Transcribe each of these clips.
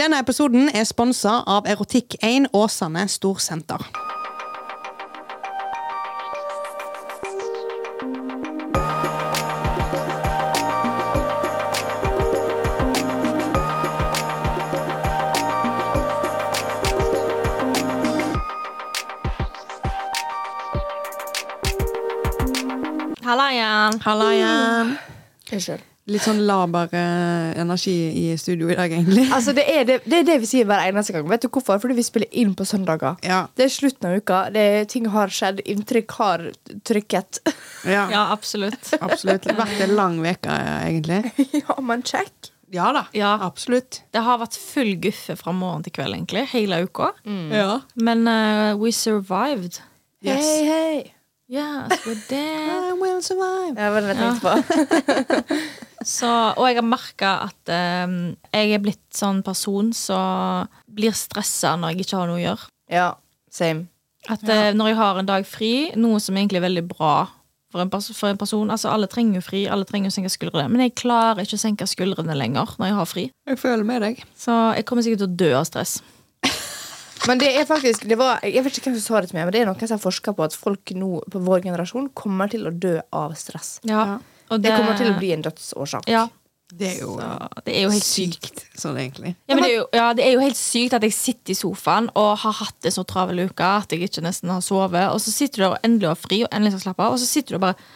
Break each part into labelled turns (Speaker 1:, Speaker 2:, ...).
Speaker 1: Denne episoden er sponsa av Erotikk1 Åsane Storsenter.
Speaker 2: Halla igjen.
Speaker 1: Halla igjen.
Speaker 3: Unnskyld.
Speaker 1: Mm. Litt sånn laber eh, energi i studio i dag, egentlig.
Speaker 3: Altså, det, er det, det er det vi sier hver eneste gang. Vet du hvorfor? Fordi vi spiller inn på søndager.
Speaker 1: Ja.
Speaker 3: Det er slutten av uka. Det er, ting har skjedd. Inntrykk har trykket.
Speaker 1: ja,
Speaker 2: Ja, absolutt.
Speaker 1: Absolutt. Det har vært en lang uke, egentlig.
Speaker 3: ja, men kjekk.
Speaker 1: Ja da.
Speaker 2: Ja.
Speaker 1: Absolutt.
Speaker 2: Det har vært full guffe fra morgen til kveld, egentlig. Hele uka.
Speaker 1: Ja.
Speaker 2: Men eh, we survived.
Speaker 1: Yes.
Speaker 3: Hei, hei.
Speaker 2: Yes, we're dead.
Speaker 1: I will survive.
Speaker 3: Ja, hva er det jeg tenkte på?
Speaker 2: Så, og jeg har merka at eh, jeg er blitt sånn person som blir stressa når jeg ikke har noe å gjøre.
Speaker 3: ja, same.
Speaker 2: At eh, når jeg har en dag fri, noe som egentlig er veldig bra for en, pers for en person Altså, alle trenger jo fri, alle trenger å senke skuldrene, men jeg klarer ikke å senke skuldrene lenger når jeg har fri.
Speaker 1: Jeg føler med deg.
Speaker 2: Så jeg kommer sikkert til å dø av stress.
Speaker 3: Men det er faktisk det var, Jeg vet ikke hvem som sa det til meg, men det er noen som har forska på at folk nå på vår generasjon kommer til å dø av stress.
Speaker 1: Ja.
Speaker 2: Og
Speaker 3: Det kommer til å bli en dødsårsak.
Speaker 2: ja.
Speaker 1: Det er jo
Speaker 2: Så det er jo helt sykt.
Speaker 1: sykt, sånn egentlig.
Speaker 2: Ja, men det, er jo, ja, det er jo helt sykt at jeg sitter i sofaen og har hatt det så travel uke at jeg ikke nesten har sovet, og så sitter du der og endelig har fri og endelig skal slappe av, og så sitter du og bare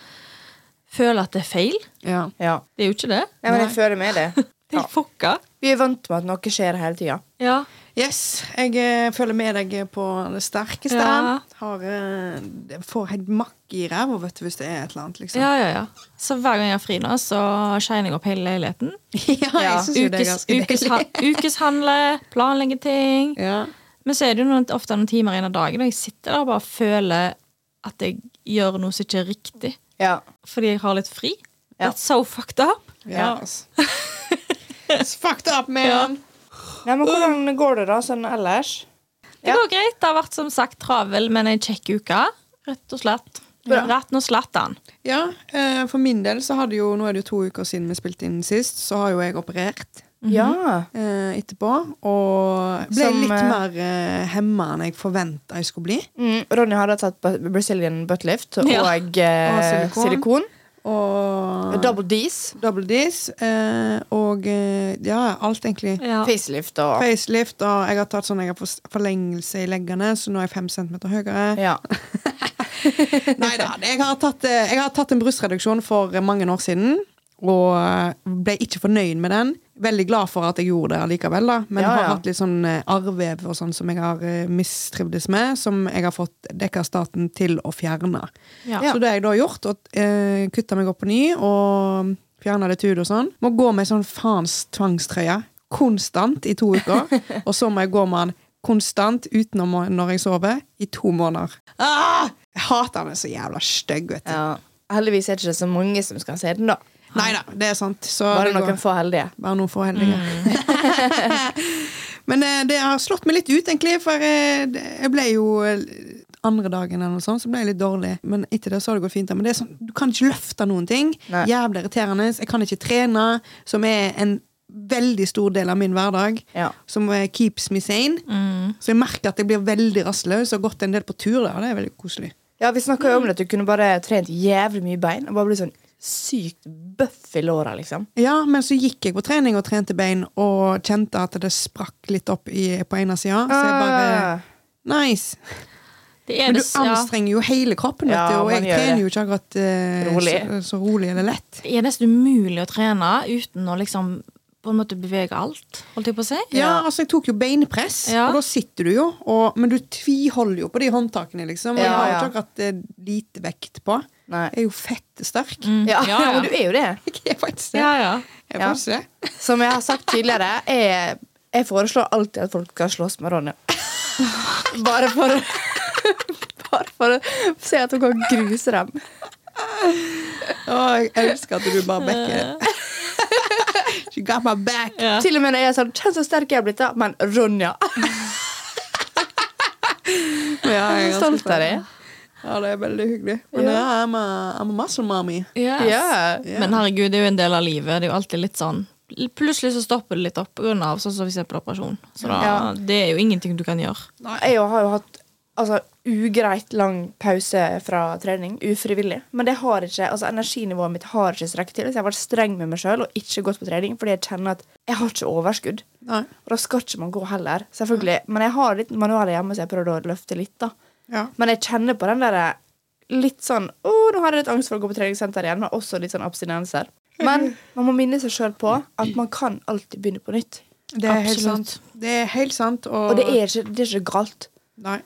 Speaker 2: føler at det er feil.
Speaker 1: Ja.
Speaker 3: Ja.
Speaker 2: Det er jo ikke det.
Speaker 3: Nei, men jeg føler med det.
Speaker 2: Det er
Speaker 3: Ja.
Speaker 2: fucka.
Speaker 3: Vi er vant med at noe skjer hele tida.
Speaker 2: Ja.
Speaker 1: Yes, jeg eh, føler med deg på det sterkeste.
Speaker 2: Ja.
Speaker 1: Har, eh, det får helt makk i ræva vet du, hvis det er et eller annet. liksom.
Speaker 2: ja, ja, ja. Så hver gang jeg har fri nå, så shiner jeg opp hele leiligheten.
Speaker 1: jeg synes jo det er
Speaker 2: Ukes,
Speaker 1: ganske
Speaker 2: ukes,
Speaker 1: deilig.
Speaker 2: ukeshandle, planlegge ting.
Speaker 1: Ja.
Speaker 2: Men så er det jo noen, ofte noen timer igjen av dagen, og jeg sitter der og bare føler at jeg gjør noe som ikke er riktig,
Speaker 3: Ja.
Speaker 2: fordi jeg har litt fri.
Speaker 3: Ja.
Speaker 2: That's so fucked up.
Speaker 1: ja. ass. It's fucked up, man!
Speaker 3: Nei, men hvordan går det da sånn ellers?
Speaker 2: Det
Speaker 3: Ja.
Speaker 2: går greit. Det har vært som sagt travel, men en kjekk uke. Rett og slett.
Speaker 3: Bra.
Speaker 2: Rett og slett den.
Speaker 1: Ja, eh, For min del så hadde jo, nå er det jo to uker siden vi spilte inn sist, så har jo jeg operert
Speaker 3: Mhm. Ja.
Speaker 1: eh, etterpå. Og ble
Speaker 3: Som,
Speaker 1: litt
Speaker 3: eh,
Speaker 1: mer eh, hemma enn jeg forventa jeg skulle bli.
Speaker 3: Mm, Ronny hadde tatt bu- Brazilian buttlift og,
Speaker 2: Ja.
Speaker 3: eh,
Speaker 1: Og silikon.
Speaker 3: silikon.
Speaker 1: Og
Speaker 3: Double D's.
Speaker 1: double D's. Eh, og eh, ja, alt egentlig.
Speaker 2: Ja.
Speaker 3: Facelift og
Speaker 1: Facelift, og jeg har tatt sånn jeg har fors- forlengelse i leggene, så nå er jeg fem centimeter høyere.
Speaker 3: ja.
Speaker 1: Nei da, jeg, har tatt, eh, jeg har tatt en brystreduksjon for eh, mange år siden, og eh, ble ikke fornøyd med den. Veldig glad for at jeg gjorde det allikevel, da. men
Speaker 3: Ja,
Speaker 1: har
Speaker 3: ja.
Speaker 1: hatt litt sånn eh, arrvev og sånn som jeg har eh, mistrivdes med, som jeg har fått dekka staten til å fjerne.
Speaker 2: Ja.
Speaker 1: Så det har jeg da har gjort, og eh, kutta meg opp på ny og fjerna litt hud og sånn. Må gå med sånn faens tvangstrøye konstant i to uker. og så må jeg gå med den konstant utenom når jeg sover, i to måneder. Ah! Jeg hater den er så jævla stygg, vet du.
Speaker 3: ja. Heldigvis er det ikke så mange som skal se den, da.
Speaker 1: Nei da, det er sant. Så
Speaker 3: Bare
Speaker 1: det går.
Speaker 3: noen få heldige.
Speaker 1: Bare noen få heldige.
Speaker 3: Mm.
Speaker 1: Men eh, det har slått meg litt ut, egentlig, for eh, det- jeg ble jo eh, andre dagen eller noe sånt, så ble jeg litt dårlig. Men etter det så har det gått fint. da. Men det er sånn, du kan ikke løfte noen ting.
Speaker 3: Nei.
Speaker 1: Jævlig irriterende. Jeg kan ikke trene, som er en veldig stor del av min hverdag.
Speaker 3: Ja. Mm.
Speaker 1: Som eh, keeps me sane. Så jeg merker at jeg blir veldig rastløs og har gått en del på tur. da, og Det er veldig koselig.
Speaker 3: Ja, Vi snakka jo om det at du kunne bare trent jævlig mye bein og bare bli sånn sykt bøff i låra, liksom.
Speaker 1: Ja, men så gikk jeg på trening og trente bein og kjente at det sprakk litt opp i, på ene sida. Så jeg bare
Speaker 3: Ah.
Speaker 1: Nice!
Speaker 2: Det er
Speaker 1: Men du
Speaker 2: det, s- ja.
Speaker 1: anstrenger jo hele kroppen, vet
Speaker 3: Ja,
Speaker 1: du, og
Speaker 3: man
Speaker 1: jeg
Speaker 3: gjør
Speaker 1: trener
Speaker 3: det.
Speaker 1: jo ikke akkurat eh,
Speaker 3: Rolig.
Speaker 1: Så, så rolig eller lett.
Speaker 2: det er nesten umulig å trene uten å liksom på en måte bevege alt, holdt jeg på å si.
Speaker 1: Ja, altså Jeg tok jo beinpress,
Speaker 2: Ja.
Speaker 1: og da sitter du jo, og, men du tviholder jo på de håndtakene. liksom Og
Speaker 3: Ja,
Speaker 1: jeg har jo
Speaker 3: ja.
Speaker 1: ikke akkurat eh, lite vekt på.
Speaker 3: Nei.
Speaker 1: Jeg er jo fettesterk.
Speaker 3: Ja,
Speaker 2: Ja, ja.
Speaker 3: men du er jo det.
Speaker 1: Jeg er faktisk det.
Speaker 2: Mm. Ja, ja.
Speaker 1: Jeg er
Speaker 3: Ja.
Speaker 1: faktisk det.
Speaker 3: Som jeg har sagt tidligere, jeg, jeg foreslår alltid at folk skal slåss med Ronja. Bare for å Bare for å se at hun kan gruse dem.
Speaker 1: Å, jeg elsker at du bare backer det. She got my back.
Speaker 2: Ja.
Speaker 3: Til og med når jeg er sånn Kjenn så sterk jeg er blitt, da. Men Ronja.
Speaker 1: Ja,
Speaker 3: Jeg er stolt av deg.
Speaker 1: Ja, det er veldig hyggelig. Men ja, I'm, a, I'm a muscle mommy.
Speaker 2: Yes.
Speaker 3: Ja.
Speaker 2: Men herregud, det er jo en del av livet. Det er jo alltid litt sånn plutselig så stopper det litt opp pga. sånn som for eksempel operasjon. Så da,
Speaker 3: Ja.
Speaker 2: det er jo ingenting du kan gjøre.
Speaker 3: Jeg jo har jo hatt altså, ugreit lang pause fra trening, ufrivillig. Men det har ikke, altså, energinivået mitt har ikke strekt til. Så jeg har vært streng med meg sjøl og ikke gått på trening fordi jeg kjenner at jeg har ikke overskudd.
Speaker 1: Nei.
Speaker 3: Og da skal ikke man gå heller. selvfølgelig. Men jeg har litt manualer hjemme, så jeg prøvde å løfte litt. da.
Speaker 1: Ja.
Speaker 3: Men jeg kjenner på den derre litt sånn Å, nå har jeg litt angst for å gå på treningssenter igjen. Men også litt sånn abstinenser. Men man må minne seg sjøl på at man kan alltid begynne på nytt.
Speaker 1: Det er helt
Speaker 2: Absolutt.
Speaker 1: sant. Det er helt sant. Og,
Speaker 3: Og det er ikke, det er ikke galt.
Speaker 1: Nei.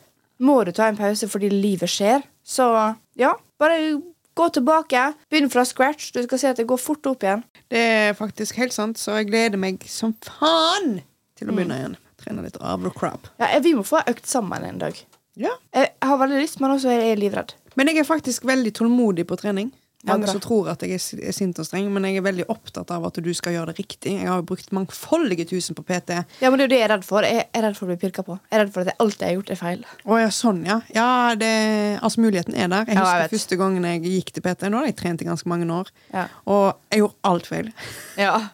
Speaker 3: Må du ta en pause fordi livet skjer, så ja, bare gå tilbake. Begynn fra scratch. Du skal se at det går fort opp igjen.
Speaker 1: Det er faktisk helt sant, så jeg gleder meg som faen til å
Speaker 3: Mm.
Speaker 1: begynne igjen. Trene litt avlocrab.
Speaker 3: Ja, eh, Vi må få ei økt sammen en dag. Eh,
Speaker 1: Ja.
Speaker 3: Jeg har veldig lyst, men også er jeg livredd.
Speaker 1: Men jeg er faktisk veldig tålmodig på trening.
Speaker 3: Ja,
Speaker 1: Mange
Speaker 3: bra.
Speaker 1: som tror at jeg er si- er sint og streng, men jeg er veldig opptatt av at du skal gjøre det riktig. Jeg har jo brukt mangfoldige tusen på PT.
Speaker 3: Ja, men Det er jo det jeg er redd for. Jeg er redd for å bli pirka på. Jeg er redd for at jeg- alt jeg har gjort, er feil.
Speaker 1: Å ja, sånn, ja. ja det, altså, muligheten er der. Jeg
Speaker 3: Ja, jeg
Speaker 1: husker
Speaker 3: vet.
Speaker 1: første gangen jeg gikk til PT. Nå har jeg trent i ganske mange år.
Speaker 3: Ja.
Speaker 1: Og jeg gjorde alt feil.
Speaker 3: Ja.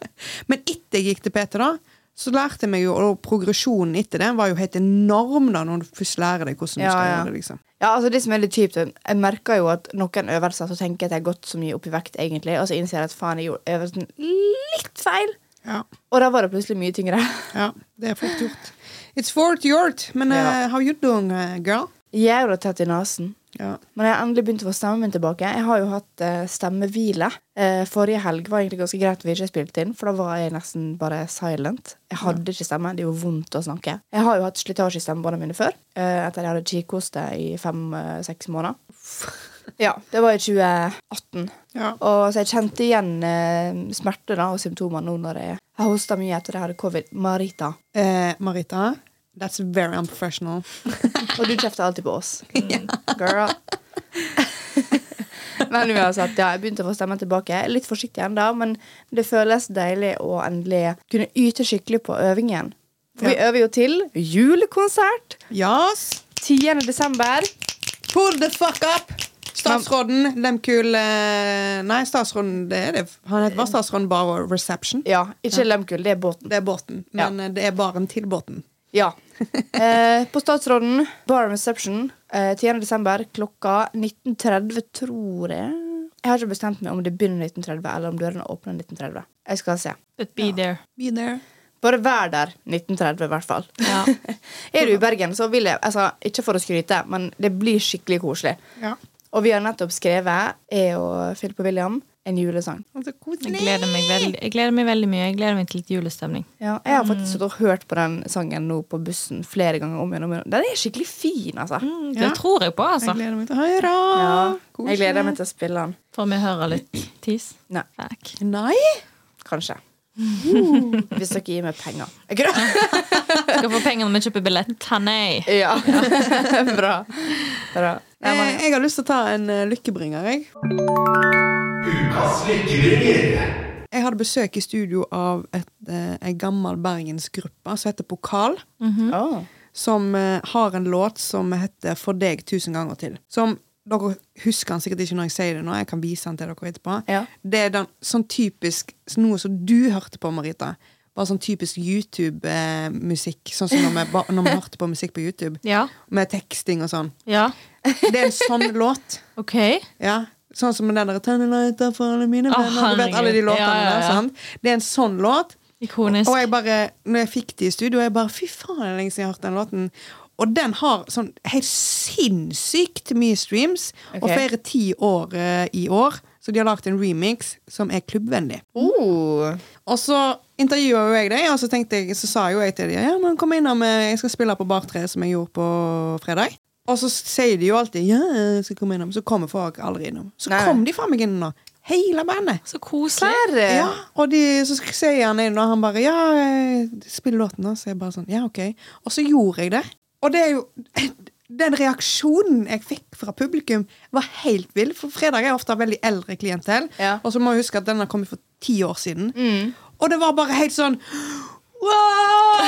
Speaker 1: Men etter jeg gikk til PT, da, så lærte jeg meg jo, og progresjonen etter det var jo helt enorm da, når du først lærer deg hvordan du
Speaker 3: Ja,
Speaker 1: skal
Speaker 3: ja.
Speaker 1: gjøre det. liksom.
Speaker 3: Ja, altså det som er litt kjipt Jeg merker jo at noen øvelser Så tenker jeg at jeg har gått så mye opp i vekt egentlig Og så innser jeg at faen jeg gjorde øvelsen litt feil
Speaker 1: Ja,
Speaker 3: Og da var det plutselig mye tyngre
Speaker 1: ja, det er fort gjort. It's fort gjort, men
Speaker 3: Ja.
Speaker 1: eh, how you doing, eh, girl?
Speaker 3: Jævla tett i nasen
Speaker 1: Ja.
Speaker 3: Men jeg har endelig begynt å få stemmen min tilbake Jeg har jo hatt eh, stemmehvile eh, Forrige helg var egentlig ganske greit at vi ikke spilte inn For da var jeg nesten bare silent Jeg hadde ikke stemme, det gjorde vondt å snakke Jeg har jo hatt slitasje i stemmebåndene mine før eh, Etter jeg hadde kikhoste i fem-seks måneder Ja, det var i 2018
Speaker 1: Ja.
Speaker 3: Og så jeg kjente igjen eh, smerte da, og symptomer nå når jeg Jeg hosta mye etter jeg hadde covid. Marita.
Speaker 1: Eh, Marita, that's very unprofessional.
Speaker 3: Og du kjefter alltid på oss. Girl. men uansett, ja, jeg begynte å få stemmen tilbake. Litt forsiktig ennå, men det føles deilig å endelig kunne yte skikkelig på øvingen. For vi øver jo til julekonsert
Speaker 1: Yes!
Speaker 3: 10. desember.
Speaker 1: Pull the fuck up! Statsråden Lemkul eh, Nei, statsråden det er det. Han heter bare statsråden bare Reception.
Speaker 3: Ja, ikke Lemkull, det er båten.
Speaker 1: Det er båten,
Speaker 3: Ja.
Speaker 1: men eh, det er baren til båten.
Speaker 3: Ja. Eh, på Statsråden, Bar and Reception, eh, 10. desember klokka 19.30, tror jeg. Jeg har ikke bestemt meg om det begynner 19.30, eller om dørene åpner 19.30. Jeg skal se.
Speaker 2: But be there.
Speaker 1: Be there.
Speaker 3: Bare vær der 19.30, i hvert fall.
Speaker 2: Ja.
Speaker 3: Er du i Bergen, så vil jeg altså, Ikke for å skryte, men det blir skikkelig koselig.
Speaker 1: Ja.
Speaker 3: Og vi har nettopp skrevet, jeg og Philip og William, en julesang.
Speaker 1: Og så
Speaker 2: Jeg
Speaker 1: Altså, koselig.
Speaker 2: gleder, meg veldig, jeg gleder meg veldig mye. Jeg gleder meg til litt julestemning.
Speaker 3: Ja, jeg har faktisk stått og hørt på den sangen nå på bussen flere ganger om igjen. og om igjen. Den er skikkelig fin, altså.
Speaker 2: Det
Speaker 1: Ja.
Speaker 2: tror jeg på, altså.
Speaker 1: Jeg gleder meg til å høre.
Speaker 3: Ja,
Speaker 1: Ah, Koselig.
Speaker 3: jeg gleder meg til å spille den.
Speaker 2: Får vi høre litt tis?
Speaker 3: Nei,
Speaker 2: Fuck.
Speaker 1: Nei?
Speaker 3: kanskje. Hvis dere gir meg penger. Er ikke det?
Speaker 2: Skal få penger når vi kjøper billett. Ha, nei.
Speaker 3: Ja. Bra. Bra. Nei,
Speaker 1: Eh,
Speaker 3: men,
Speaker 1: jeg har lyst til å ta en eh, lykkebringer, jeg.
Speaker 4: Ukas lykkebringer.
Speaker 1: Jeg hadde besøk i studio av et, eh, en gammel bergensgruppe som heter Pokal.
Speaker 3: Åh.
Speaker 1: Som eh, har en låt som heter For deg tusen ganger til. Som dere husker han sikkert ikke når jeg sier det nå. Jeg kan vise han til dere etterpå.
Speaker 3: Ja.
Speaker 1: Det er den, sånn typisk noe som du hørte på, Marita. Bare sånn typisk YouTube-musikk. Sånn som når vi, ba- når vi hørte på musikk på YouTube.
Speaker 2: Ja.
Speaker 1: Med teksting og sånn.
Speaker 2: Ja.
Speaker 1: Det er en sånn låt.
Speaker 2: OK.
Speaker 1: Ja, sånn som den der «Tenner lighter for alle mine
Speaker 2: Å,
Speaker 1: venner», Du vet alle de
Speaker 2: herregud.
Speaker 1: låtene
Speaker 2: Ja, ja,
Speaker 1: der,
Speaker 2: ja.
Speaker 1: sant? Det er en sånn låt.
Speaker 2: Ikonisk.
Speaker 1: Og jeg bare, når jeg fikk de i studio, jeg bare Fy faen, det er lenge siden jeg har hørt den låten. Og den har sånn helt sinnssykt mye streams, og
Speaker 3: Ok.
Speaker 1: feirer ti år eh, i år. Så de har lagd en remix som er klubbvennlig.
Speaker 3: Oh.
Speaker 1: Og så intervjua jo jeg deg, og så, tenkte jeg, så sa jo jeg til dem ja, men kom innom, eh, jeg skal spille på Bar 3, som jeg gjorde på fredag. Og så sier de jo alltid ja, jeg skal komme innom. Så kommer folk aldri innom. Så
Speaker 3: Nei.
Speaker 1: kom de faen meg innom nå. Hele bandet.
Speaker 2: Så koselig.
Speaker 3: Serr?
Speaker 1: Ja, og de, så sk- sier han inn, og han bare ja, eh, spill låten, da. Så jeg bare sånn ja, ok. Og så gjorde jeg det. Og det er jo den reaksjonen jeg fikk fra publikum, var helt vill. For fredag er ofte veldig eldre klientell.
Speaker 3: Ja.
Speaker 1: Og så må jeg huske at den har kommet for ti år siden.
Speaker 3: Mm.
Speaker 1: Og det var bare helt sånn Wow!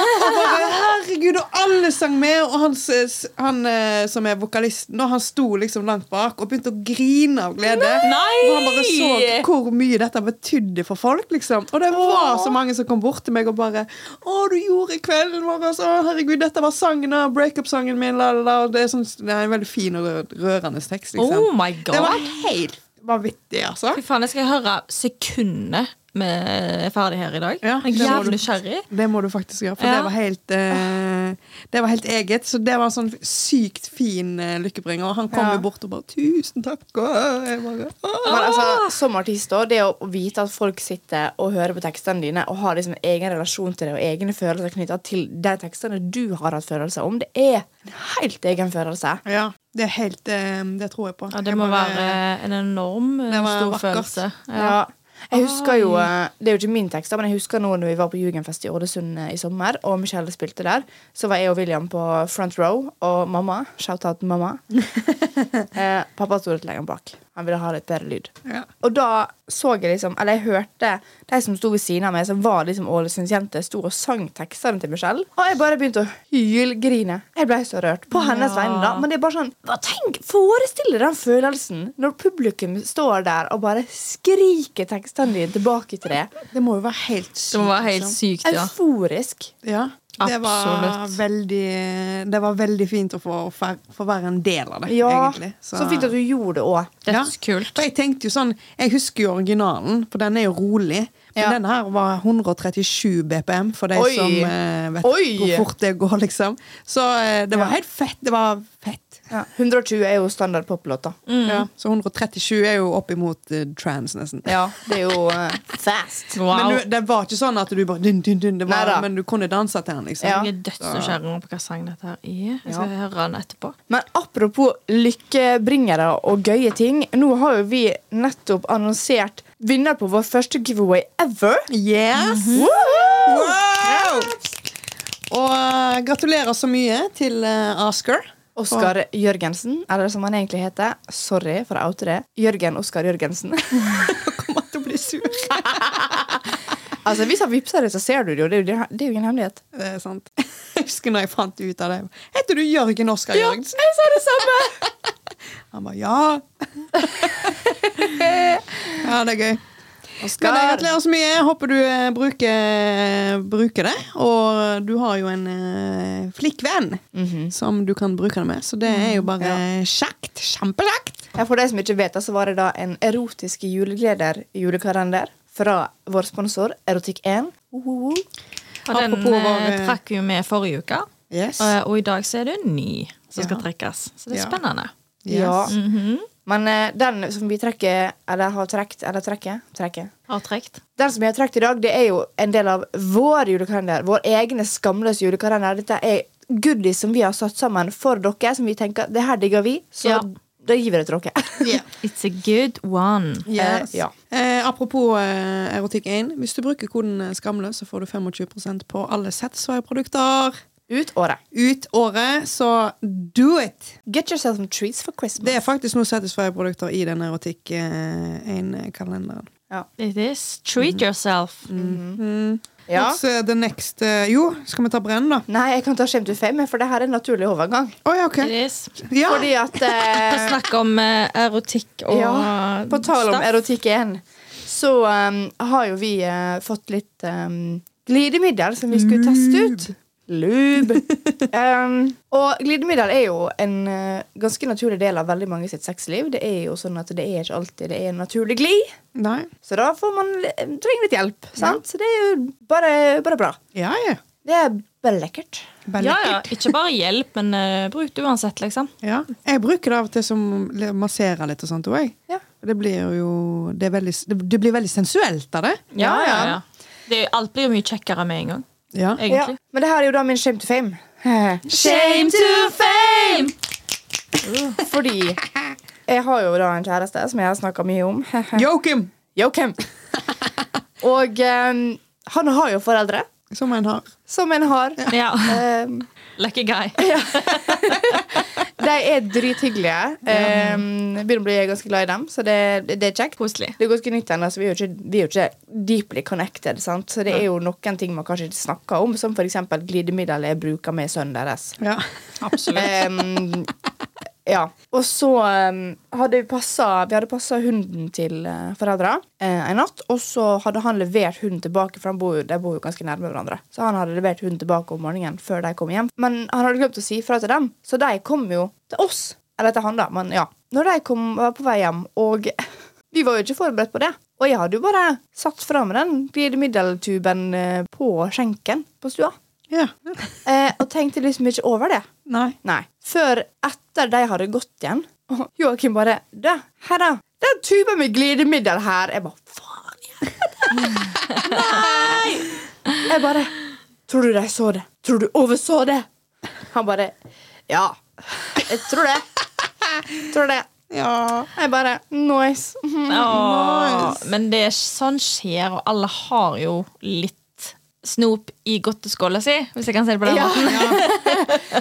Speaker 1: Og bare, herregud, og alle sang med, og han, s- han eh, som er vokalisten, og han sto liksom langt bak og begynte å grine av glede.
Speaker 2: Nei!
Speaker 1: Og han bare så hvor mye dette betydde for folk, liksom. Og det var så mange som kom bort til meg og bare 'Å, du gjorde kvelden vår, altså. Å, herregud, dette var sangen, og breakup-sangen min, la, la, la. Og det er, sånn, det er en veldig fin og rø- rørende tekst, liksom.
Speaker 2: Oh my god.
Speaker 1: det var helt vanvittig, altså.
Speaker 2: Fy faen, jeg skal høre sekundene vi er ferdig her i dag.
Speaker 1: Ja,
Speaker 2: jeg
Speaker 1: det
Speaker 2: er
Speaker 1: må
Speaker 2: jævlig
Speaker 1: du.
Speaker 2: nysgjerrig.
Speaker 1: Det må du faktisk gjøre, for
Speaker 2: Ja.
Speaker 1: det var helt eh, Det var helt eget. Så det var en sånn sykt fin eh, lykkebringer. Og han kom
Speaker 3: Ja.
Speaker 1: jo bort og bare 'Tusen takk', og jeg bare «Åh».
Speaker 3: Men altså, som artist også, det å vite at folk sitter og hører på tekstene dine og har liksom en egen relasjon til det og egne følelser knyttet til de tekstene du har hatt følelser om, det er en helt egen følelse.
Speaker 1: Ja. Det er helt eh, Det tror jeg på.
Speaker 2: Ja, det
Speaker 1: Jeg
Speaker 2: må
Speaker 1: bare-
Speaker 2: være en enorm eh,
Speaker 1: Det var
Speaker 2: stor
Speaker 1: vakkert.
Speaker 2: følelse. Ja.
Speaker 3: Ja. Jeg husker jo, eh, Det er jo ikke min tekst, da, men jeg husker nå når vi var på Jugendfest i Ålesund eh, i sommer, og Michelle spilte der, så var jeg og William på front row, og mamma Shout-out mamma. eh, pappa sto litt lenger bak. Han ville ha litt bedre lyd.
Speaker 1: Ja.
Speaker 3: Og da så jeg liksom, eller jeg hørte de som sto ved siden av meg, som var liksom Ålesundsjenter, sto og sang tekstene til Michelle. Og jeg bare begynte å hylgrine. Jeg ble så rørt. På hennes vegne, da. Men det er bare sånn hva tenk, Forestill deg den følelsen når publikum står der og bare skriker tekstene dine tilbake til deg.
Speaker 1: Det må jo være helt sykt.
Speaker 2: Det må være helt
Speaker 1: liksom.
Speaker 2: sykt, ja.
Speaker 3: Euforisk.
Speaker 1: Ja. Det var,
Speaker 2: Absolutt.
Speaker 1: veldig, det var veldig fint å få, å fer- få være en del av det,
Speaker 3: Ja.
Speaker 1: egentlig.
Speaker 3: Så, fint at du gjorde det òg.
Speaker 2: Dødskult.
Speaker 1: For jeg tenkte jo sånn Jeg husker jo originalen, for den er jo rolig. Men
Speaker 3: Ja.
Speaker 1: denne her var 137 BPM, for de
Speaker 3: Oi.
Speaker 1: som eh, vet
Speaker 3: Oi.
Speaker 1: hvor fort det går, liksom. Så eh, det var
Speaker 3: Ja.
Speaker 1: helt fett. Det var fett.
Speaker 3: Ja. 120 er jo standard poplåt, da.
Speaker 1: Ja, så 137 er jo oppimot uh, trans, nesten.
Speaker 3: Ja, det er jo eh, fast.
Speaker 2: Wow.
Speaker 1: Men du, det var ikke sånn at du bare dun, dun, dun, det var,
Speaker 3: Neida.
Speaker 1: Men du kunne danse til den, liksom.
Speaker 3: Ja.
Speaker 2: Jeg er dødsnysgjerrig på hva sang dette her er. Jeg skal høre den etterpå.
Speaker 3: Men apropos lykkebringere og gøye ting. Nå har jo vi nettopp annonsert vinner på vår første giveaway ever.
Speaker 1: Yes!
Speaker 3: Mm-hmm. Woohoo!
Speaker 1: Wow! Og eh, gratulerer så mye til eh, Oscar.
Speaker 3: Oskar Jørgensen, eller som han egentlig heter. Sorry for å oute det. Jørgen Oskar Jørgensen.
Speaker 1: Kommer til å bli sur.
Speaker 3: altså, Hvis han vippser det, så ser du det jo. Det er jo, det, det er jo ingen hemmelighet.
Speaker 1: Det er eh, sant. Jeg husker når jeg fant ut av det. Heter du Jørgen Oskar Jørgensen?
Speaker 3: jeg sa det samme!
Speaker 1: Han bare ja. ja, det er gøy. Men jeg
Speaker 3: Oskar.
Speaker 1: gratulerer så mye. Jeg Håper du eh, bruker, bruker det. Og du har jo en eh, flink venn
Speaker 3: Mhm.
Speaker 1: som du kan bruke det med, så det er jo bare kjekt. Kjempekjekt.
Speaker 3: Ja, eh, for de som ikke vet, det, så var det da en erotiske julegleder julekalender fra vår sponsor Erotikk1. Ohoho.
Speaker 2: Og den
Speaker 1: Apropos
Speaker 2: eh,
Speaker 1: vår-
Speaker 2: trakk vi jo med forrige uke,
Speaker 1: Yes.
Speaker 2: Eh, og i dag så er det en ny som skal
Speaker 1: Ja.
Speaker 2: trekkes. Så det er
Speaker 1: Ja.
Speaker 2: spennende. Mhm.
Speaker 3: Ja.
Speaker 2: Mm.
Speaker 3: Men eh, den som vi trekker, eller har trukket, eller trekker, trekker
Speaker 2: Har trekt.
Speaker 3: Den som vi har trukket i dag, det er jo en del av vår julekalender. Vår egne skamløse julekalender. Dette er goodies som vi har satt sammen for dere, som vi tenker det her digger vi, så
Speaker 2: Ja.
Speaker 3: da gir vi det til dere.
Speaker 2: It's a good one.
Speaker 1: Yes.
Speaker 3: Eh, ja.
Speaker 1: Eh, apropos eh, Erotikk 1. Hvis du bruker koden eh, Skamløs, så får du 25 på alle Setsvai-produkter.
Speaker 3: Ut året.
Speaker 1: Ut året, så do it!
Speaker 3: Get yourself some trees for Christmas.
Speaker 1: Det er faktisk noen Satisfyer-produkter i den erotikk eh, 1-kalenderen.
Speaker 2: It is. Treat yourself. Mhm.
Speaker 3: ja.
Speaker 1: What's eh, the next eh, Jo, skal vi ta brenn, da?
Speaker 3: Nei, jeg kan ta Shame to fame, for det her er en naturlig overgang.
Speaker 1: Å ja, OK.
Speaker 2: It is.
Speaker 1: Ja.
Speaker 3: Eh, Fordi at
Speaker 2: På
Speaker 3: eh,
Speaker 2: snakk om eh, erotikk og
Speaker 3: Ja, på tal om
Speaker 2: stuff.
Speaker 3: erotikk igjen, så um, har jo vi eh, fått litt um, glidemiddel som vi skulle teste ut. Lube. um, og glidemiddel er jo en eh, ganske naturlig del av veldig mange sitt sexliv. Det er jo sånn at det er ikke alltid det er naturlig glid,
Speaker 1: Nei.
Speaker 3: så da får man eh, trenger litt hjelp. Sant? Så det er jo bare, bare bra.
Speaker 1: Ja, ja.
Speaker 3: Det er bare lekkert.
Speaker 1: Bare
Speaker 2: Ja, ja.
Speaker 1: lekkert.
Speaker 2: Ikke bare hjelp, men eh, bruk det uansett, liksom.
Speaker 1: Ja. Jeg bruker det av og til som le- masserer litt og sånt òg, jeg.
Speaker 3: Ja.
Speaker 1: Det blir jo det, er veldig, det, det blir veldig sensuelt av det.
Speaker 3: Ja, ja.
Speaker 2: Det, alt blir jo mye kjekkere med en gang,
Speaker 1: Ja.
Speaker 3: Ja.
Speaker 2: egentlig.
Speaker 3: Men det her er jo da min shame to fame. shame
Speaker 2: fame!
Speaker 3: Uh, Fordi jeg har jo da en kjæreste som jeg har snakka mye om.
Speaker 1: Joakim!
Speaker 3: Joakim. Og eh, han ehm, har jo foreldre.
Speaker 1: Som en har.
Speaker 3: Som en har.
Speaker 2: Ja.
Speaker 3: Eh,
Speaker 2: Lucky guy.
Speaker 3: de er drithyggelige. Eh, jeg begynner å bli ganske glad i dem, så det, det er kjekt.
Speaker 2: Koselig.
Speaker 3: Det er ganske nytt ennå, så vi er jo ikke, vi er jo ikke deeply connected. sant? Så det er jo noen ting man kanskje ikke snakker om, som f.eks. glidemiddel jeg bruker med sønnen deres.
Speaker 1: Ja.
Speaker 2: Absolutt.
Speaker 3: Ehm, ja. Og så ehm, hadde vi passa Vi hadde passa hunden til uh, foreldra eh, en natt, og så hadde han levert hunden tilbake, for han bor, jo- de bor jo ganske nærme hverandre. Så han hadde levert hunden tilbake om morgenen før de kom hjem. Men han hadde glemt å si fra til dem, så de kom jo til oss. Eller til han, da, men ja. Når de kom, var på vei hjem, og vi var jo ikke forberedt på det. Og jeg hadde jo bare satt fra meg den glidemiddeltuben eh, på skjenken på stua.
Speaker 1: ja.
Speaker 3: Eh, og tenkte liksom ikke over det.
Speaker 1: Nei.
Speaker 3: Nei. Før etter de hadde gått igjen. Og Joakim bare Du, her da. Den tuben med glidemiddel her. Jeg bare Faen i helvete. Nei! Jeg bare Tror du de så det? Tror du overså det? Han bare Ja. Jeg tror det. Tror det.
Speaker 1: Ja.
Speaker 3: Jeg bare Nice.
Speaker 2: Åh, Men det er sånn skjer, og alle har jo litt snop i godteskåla si, hvis jeg kan si det på den
Speaker 3: Ja.
Speaker 2: måten.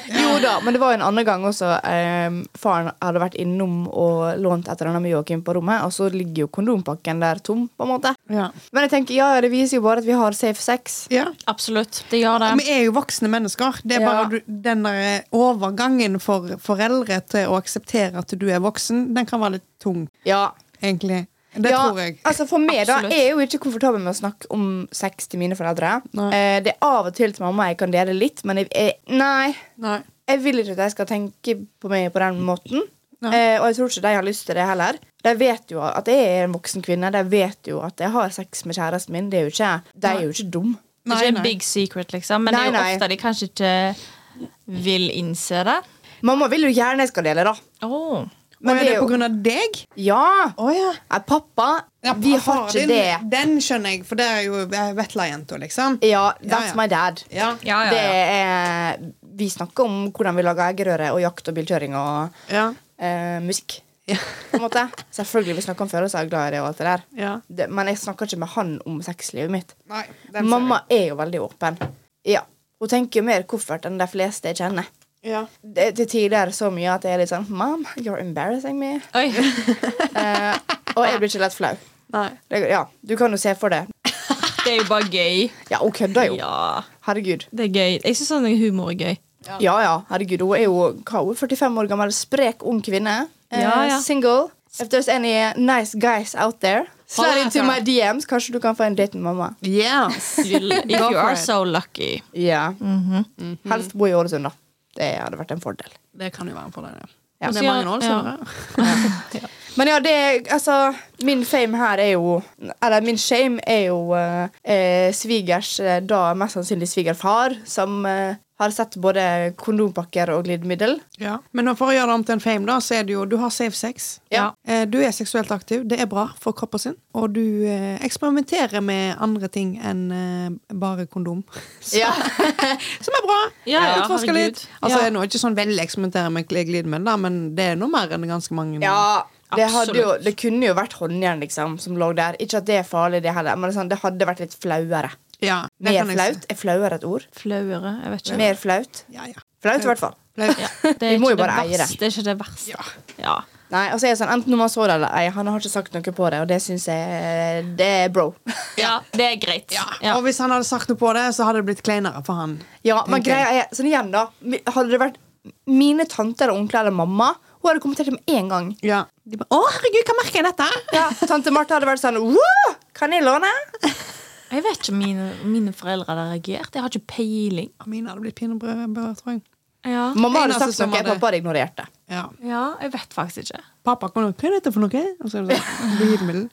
Speaker 3: Jo da, men det var jo en annen gang også. ehm, faren hadde vært innom og lånt et eller annet med Joakim på rommet, og så ligger jo kondompakken der tom, på en måte.
Speaker 1: Ja.
Speaker 3: Men jeg tenker, ja, det viser jo bare at vi har safe sex.
Speaker 1: ja.
Speaker 2: Absolutt. Det gjør det.
Speaker 1: Vi er jo voksne mennesker. Det er
Speaker 3: Ja.
Speaker 1: bare du, den der overgangen for foreldre til å akseptere at du er voksen, den kan være litt tung,
Speaker 3: Ja,
Speaker 1: egentlig. Det
Speaker 3: ja,
Speaker 1: tror jeg.
Speaker 3: Altså For meg, da.
Speaker 2: Absolutt.
Speaker 3: Jeg er jo ikke komfortabel med å snakke om sex til mine foreldre.
Speaker 1: Nei.
Speaker 3: Eh, det er av og til til mamma jeg kan dele litt, men jeg, jeg, nei.
Speaker 1: Nei.
Speaker 3: Jeg vil ikke at de skal tenke på meg på den måten.
Speaker 1: Nei.
Speaker 3: Eh, og jeg tror ikke de har lyst til det heller. De vet jo at jeg er en voksen kvinne. De vet jo at jeg har sex med kjæresten min. Det er jo ikke, de er jo ikke dum.
Speaker 2: Det
Speaker 1: Nei,
Speaker 2: er ikke
Speaker 1: nei.
Speaker 2: en big secret, liksom, men
Speaker 3: Nei,
Speaker 2: det er
Speaker 3: nei.
Speaker 2: jo ofte de kanskje ikke vil innse det.
Speaker 3: Mamma vil jo gjerne jeg skal dele, da.
Speaker 2: Åh.
Speaker 1: Men er
Speaker 3: det
Speaker 1: det
Speaker 3: er jo-
Speaker 1: på grunn av deg?
Speaker 3: Ja!
Speaker 1: Å ja.
Speaker 3: Nei, pappa,
Speaker 1: Ja,
Speaker 3: vi har
Speaker 1: faren din,
Speaker 3: ikke det.
Speaker 1: Den skjønner jeg, for det er jo Vetla-jenta, liksom.
Speaker 3: Ja, that's
Speaker 1: Ja, ja.
Speaker 3: my dad.
Speaker 1: Ja.
Speaker 2: Ja, ja, ja.
Speaker 3: Det er, vi snakker om hvordan vi lager eggerøre og jakt og bilkjøring og
Speaker 1: Ja.
Speaker 3: eh, musikk. På en måte. Selvfølgelig vi snakker om følelser og glad i det og alt det der.
Speaker 1: Ja.
Speaker 3: Det, men jeg snakker ikke med han om sexlivet mitt.
Speaker 1: Nei, den ser
Speaker 3: Mamma er jo veldig åpen. Ja. Hun tenker jo mer koffert enn de fleste jeg kjenner.
Speaker 1: jeg. Ja.
Speaker 3: Det, til tider så mye at jeg er litt sånn Mom, you're embarrassing me.
Speaker 2: Oi.
Speaker 3: Eh, og jeg blir ikke lett flau.
Speaker 1: Nei.
Speaker 3: Det, ja, du kan jo se for det.
Speaker 2: Det er jo bare gøy.
Speaker 3: Ja, hun kødder jo.
Speaker 2: Ja,
Speaker 3: Herregud.
Speaker 2: det er gøy. Jeg syns sånn humor er gøy.
Speaker 3: Ja, ja, herregud, hun er jo hva, hun er 45 år gammel, sprek ung kvinne. Eh,
Speaker 2: Ja, ja.
Speaker 3: Single. If there's any nice guys out there, slide
Speaker 2: Hold
Speaker 3: into
Speaker 2: etter.
Speaker 3: my DMs. Kanskje du kan få en date med mamma.
Speaker 1: Yes.
Speaker 2: If you are so lucky.
Speaker 3: Ja. Mhm.
Speaker 2: Mhm.
Speaker 3: Helst bo i Ålesund, da. Det hadde vært en fordel.
Speaker 1: Det kan jo være en fordel, ja. Men
Speaker 3: Ja.
Speaker 1: Det
Speaker 2: Så
Speaker 1: er
Speaker 2: ja,
Speaker 1: mange år,
Speaker 2: ja.
Speaker 1: Sara.
Speaker 3: Men ja, det Altså, min fame her er jo Eller min shame er jo eh, eh, svigers, eh, da mest sannsynlig svigerfar, som eh, har sett både kondompakker og glidemiddel.
Speaker 1: Ja. Men nå for å gjøre det om til en fame, da, så er det jo Du har safe sex.
Speaker 3: Ja.
Speaker 1: Eh, Du er seksuelt aktiv. Det er bra for kroppen sin. Og du eh, eksperimenterer med andre ting enn eh, bare kondom. Så,
Speaker 3: Ja.
Speaker 1: Som er bra.
Speaker 2: Ja, ja,
Speaker 1: Utforsker
Speaker 2: herregud.
Speaker 1: litt. Altså,
Speaker 2: Ja.
Speaker 1: jeg er nå ikke sånn veldig eksperimenterer med glidemiddel, da, men det er noe mer enn ganske mange.
Speaker 3: Ja, det, hadde jo,
Speaker 2: Absolutt.
Speaker 3: det kunne jo vært håndjern liksom, som lå der. Ikke at det er farlig, det heller, men det, er sånn, det hadde vært litt flauere.
Speaker 1: Ja, det
Speaker 3: Mer
Speaker 1: kan jeg si.
Speaker 3: flaut? Er flauere et ord?
Speaker 2: Flauere. Jeg vet ikke.
Speaker 3: Mer flaut?
Speaker 1: Ja, ja.
Speaker 3: Flaut, i hvert fall.
Speaker 1: Flaut.
Speaker 2: Ja, det er
Speaker 3: Vi må jo
Speaker 2: ikke
Speaker 3: bare eie det.
Speaker 2: verste. Det er ikke det verste.
Speaker 1: Ja.
Speaker 2: Ja.
Speaker 3: Nei, altså, jeg er sånn, Enten om han så det eller ei, han har ikke sagt noe på det, og det syns jeg Det er bro.
Speaker 2: ja, det er greit. Ja.
Speaker 1: Og hvis han hadde sagt noe på det, så hadde det blitt kleinere for han.
Speaker 3: Ja, men
Speaker 1: Tenker jeg.
Speaker 3: greia er, sånn igjen da mi- Hadde det vært mine tanter eller onkler eller mamma, hun hadde kommentert det med en gang.
Speaker 1: Ja. De bare, 'Å, herregud, hva merker jeg dette?'
Speaker 3: Ja, Tante Martha hadde vært sånn Woo! Kan jeg låne?
Speaker 2: Jeg vet ikke om mine, mine foreldre hadde reagert. Jeg har ikke peiling.
Speaker 1: Mine hadde blitt pinnebrød, tror jeg.
Speaker 2: Ja.
Speaker 3: Mamma hadde
Speaker 1: Eneste
Speaker 3: sagt
Speaker 1: som
Speaker 3: noe,
Speaker 1: hadde-
Speaker 3: pappa hadde ignorert det.
Speaker 1: Ja.
Speaker 2: ja, jeg vet faktisk ikke.
Speaker 1: Pappa kom og 'Hva er dette for noe?' Og så er det sånn glidemiddel.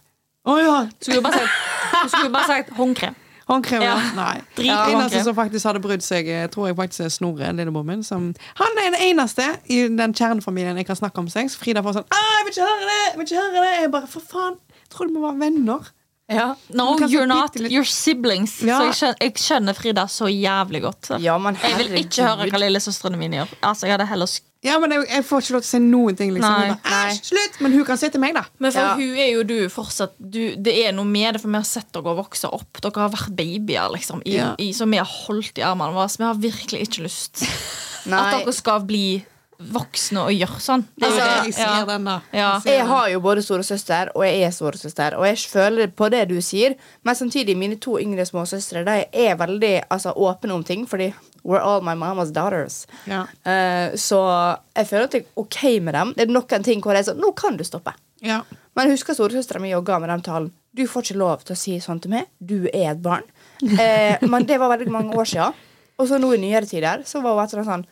Speaker 1: Å ja!
Speaker 2: Skulle jo bare sagt, skulle jo bare sagt håndkrem.
Speaker 1: Håndkrem. Ja.
Speaker 2: Ja.
Speaker 1: Nei.
Speaker 2: Drit
Speaker 1: Ja,
Speaker 2: i
Speaker 1: eneste
Speaker 2: håndkrem.
Speaker 1: som faktisk hadde brydd seg, eh, tror jeg faktisk er Snorre, lillebror min. Som, han er den eneste i den kjernefamilien jeg kan snakke om sex. Frida får sånn 'Å, jeg vil ikke høre det!' Jeg vil ikke høre det Jeg bare 'For faen, jeg tror du må være venner'.
Speaker 2: No,
Speaker 1: Men kanskje
Speaker 2: you're not.
Speaker 1: bitte litt-
Speaker 2: You're siblings.
Speaker 1: Ja.
Speaker 2: Så jeg skjønner, jeg skjønner Frida så jævlig godt.
Speaker 3: Ja, men
Speaker 2: Jeg vil ikke høre
Speaker 3: herregud.
Speaker 2: hva lillesøstrene mine gjør. Altså, Jeg hadde heller sk-
Speaker 1: Ja, men jeg, jeg får ikke lov til å si noen ting, liksom.
Speaker 2: Nei,
Speaker 1: Jeg bare,
Speaker 3: nei.
Speaker 1: Æsj, slutt! Men hun kan se til meg, da.
Speaker 2: Men for
Speaker 3: Ja.
Speaker 2: hun er jo du fortsatt du, Det er noe med det, for vi har sett dere vokse opp. Dere har vært babyer, liksom, i,
Speaker 1: Ja.
Speaker 2: i, som vi har holdt i armene våre. Så vi har virkelig ikke lyst at
Speaker 3: Nei.
Speaker 2: dere skal bli voksne og gjøre sånn.
Speaker 1: Det er jo
Speaker 3: Altså,
Speaker 1: det jeg ser
Speaker 2: ja.
Speaker 1: den, da.
Speaker 2: Ja.
Speaker 1: ser
Speaker 3: Jeg
Speaker 1: den.
Speaker 3: har jo både storesøster og jeg er storesøster, og jeg føler på det du sier, men samtidig, mine to yngre småsøstre de er veldig altså, åpne om ting, fordi we're all my mama's daughters.
Speaker 1: Ja.
Speaker 3: Eh, så jeg føler at jeg er OK med dem. Det er noen ting hvor jeg er sånn Nå kan du stoppe.
Speaker 1: Ja.
Speaker 3: Men jeg husker storesøstera mi jogga med den talen. Du får ikke lov til å si sånn til meg. Du er et barn. Eh, men det var veldig mange år siden. Og så nå i nyere tider så var hun etter sånn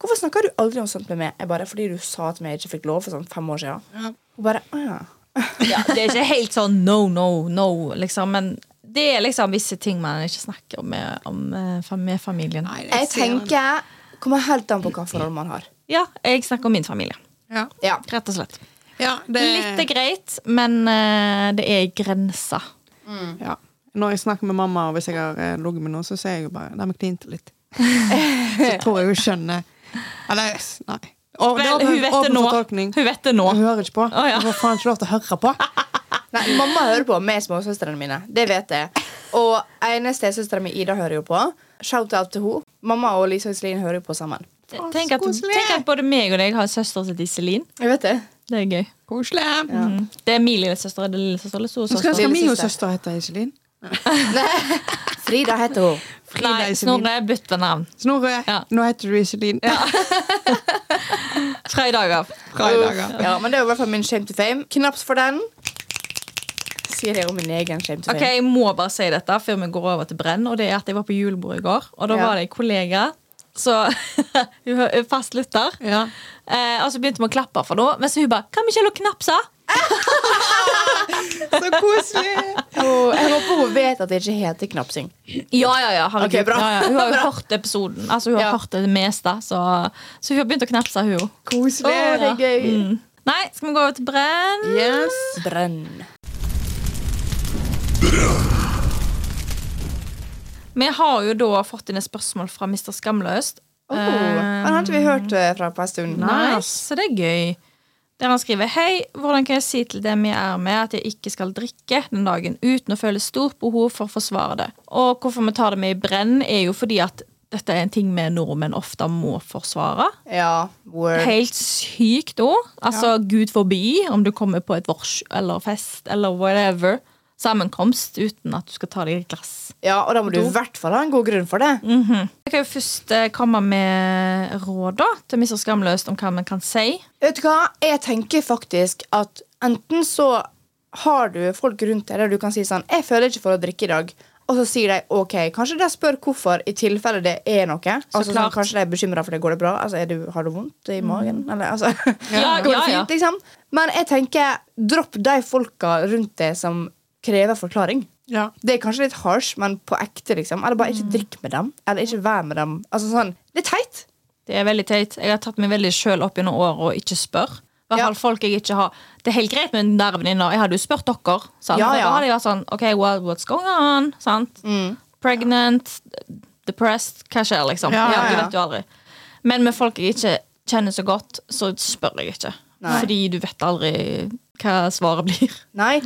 Speaker 3: Hvorfor snakker du aldri om sånt med meg? Jeg bare, Fordi du sa at jeg ikke fikk lov for sånn fem år siden.
Speaker 1: Ja.
Speaker 3: Hun bare, «Å ja.
Speaker 2: Ja, det er ikke helt sånn no, no, no, liksom. Men det er liksom visse ting man ikke snakker om med, om, eh, fam- med familien.
Speaker 1: Nei,
Speaker 3: Jeg
Speaker 1: ser den.
Speaker 3: tenker kommer helt an på hva forhold man har.
Speaker 2: Ja, jeg snakker om min familie.
Speaker 1: Ja.
Speaker 3: Ja.
Speaker 2: Rett og slett.
Speaker 1: Ja, det,
Speaker 2: Litt er greit, men eh, det er grenser.
Speaker 1: ja. Når jeg snakker med mamma, og hvis jeg har eh, ligget med noen, så sier jeg jo bare Nei, men klinte litt. så tror jeg hun skjønner. Eller s- nei. Og,
Speaker 2: Vel, hun vet det nå.
Speaker 1: Hun
Speaker 2: Hun vet det nå.
Speaker 1: Hun hører ikke på.
Speaker 2: Å, ja.
Speaker 1: Hun får faen ikke lov til å høre på.
Speaker 3: Nei, Mamma hører på med småsøstrene mine. Det vet jeg. Og ene stesøstera mi, Ida, hører jo på. Shout-out til henne. Mamma og Lisa Iselin hører jo på sammen.
Speaker 2: Tenk at,
Speaker 1: koselig.
Speaker 2: tenk at både meg og deg har en søster som heter Iselin.
Speaker 3: Jeg vet det.
Speaker 2: Det er gøy.
Speaker 1: Koselig.
Speaker 2: Mm. Det er min lillesøster. Er det lillesøster
Speaker 1: Nå
Speaker 2: eller
Speaker 1: skal,
Speaker 2: storesøster?
Speaker 1: skal min jo
Speaker 3: Lillesøster.
Speaker 1: søster hete Iselin.
Speaker 3: Frida heter hun.
Speaker 1: Frida
Speaker 2: Nei,
Speaker 1: Iselin.
Speaker 2: Snorre, bytt ved navn.
Speaker 1: Snorre,
Speaker 2: Ja.
Speaker 1: nå heter du Iselin.
Speaker 2: Tre dager.
Speaker 1: Fra i dag av.
Speaker 3: Ja, men det er i hvert fall min shame to fame. Knaps for den. Sier jeg om min egen shame to
Speaker 2: Ok,
Speaker 3: fame.
Speaker 2: Jeg må bare si dette før vi går over til brenn. Og det er at Jeg var på julebord i går, og da
Speaker 3: Ja.
Speaker 2: var det en kollega. Så hun er fast lytter.
Speaker 1: Ja.
Speaker 2: Eh, og så begynte vi å klappe for noe, men så hun bare 'Kan vi ikke la knapse?'
Speaker 1: Så koselig!
Speaker 3: Og jeg håper hun vet at det ikke heter knapsing.
Speaker 2: Ja, ja, ja. herregud.
Speaker 3: Ok, bra.
Speaker 2: ja, ja. Hun har jo hørt episoden. Altså, hun har
Speaker 3: Ja.
Speaker 2: hørt det meste, så, så hun har begynt å knapse, hun òg.
Speaker 3: Å, det er gøy.
Speaker 2: Mm. Nei, skal vi gå over til brenn?
Speaker 1: Yes.
Speaker 3: Brenn.
Speaker 2: Vi har jo da fått inn et spørsmål fra Mr. Skamløst.
Speaker 3: Oh,
Speaker 2: Eh,
Speaker 3: den har ikke vi hørt eh, fra på en stund.
Speaker 2: Nice. Så det er gøy. Der han skriver Hei, hvordan kan jeg si til dem jeg er med, at jeg ikke skal drikke den dagen uten å føle stort behov for å forsvare det? Og hvorfor vi tar det med i brenn, er jo fordi at dette er en ting vi nordmenn ofte må forsvare.
Speaker 3: Ja, word.
Speaker 2: Helt sykt òg. Altså, gud forby om du kommer på et vors eller fest eller whatever. Sammenkomst uten at du skal ta deg et glass.
Speaker 3: Ja, og da må du i hvert fall ha en god grunn for det.
Speaker 2: Mhm. Jeg kan jo først eh, komme med råd da, til Mr. Skamløst om hva man kan si.
Speaker 3: Vet du hva? Jeg tenker faktisk at enten så har du folk rundt deg der du kan si sånn 'Jeg føler ikke for å drikke i dag.' Og så sier de OK. Kanskje de spør hvorfor, i tilfelle det er noe. altså, sånn,
Speaker 2: klart. Mm.
Speaker 3: kanskje de er bekymra for det. Går det bra? Altså, er du, har du vondt i magen? Eller, altså,
Speaker 2: Ja,
Speaker 3: går det
Speaker 2: ja,
Speaker 3: fint,
Speaker 2: ja.
Speaker 3: liksom? Men jeg tenker, dropp de folka rundt deg som krever forklaring.
Speaker 1: Ja.
Speaker 3: Det er kanskje litt harsh, men på ekte, liksom. Eller
Speaker 2: Mm.
Speaker 3: bare ikke drikk med dem. Eller ikke vær med dem. Altså sånn, Det er teit.
Speaker 2: Det er veldig teit. Jeg har tatt meg veldig sjøl opp gjennom året og ikke spør. I hvert
Speaker 3: Ja.
Speaker 2: fall folk jeg ikke har Det er helt greit med den der venninna. Jeg hadde jo spurt dere. Sant?
Speaker 3: Ja,
Speaker 2: For Da
Speaker 3: ja. Mm.
Speaker 2: hadde jeg vært sånn OK, well, what's going on? Sant? Pregnant, depressed, hva skjer, liksom? Ja,
Speaker 1: Ja, ja,
Speaker 2: Du
Speaker 3: ja.
Speaker 2: vet jo aldri. Men med folk jeg ikke kjenner så godt, så spør jeg ikke.
Speaker 3: Nei.
Speaker 2: Fordi du vet aldri hva svaret blir.
Speaker 3: Nei.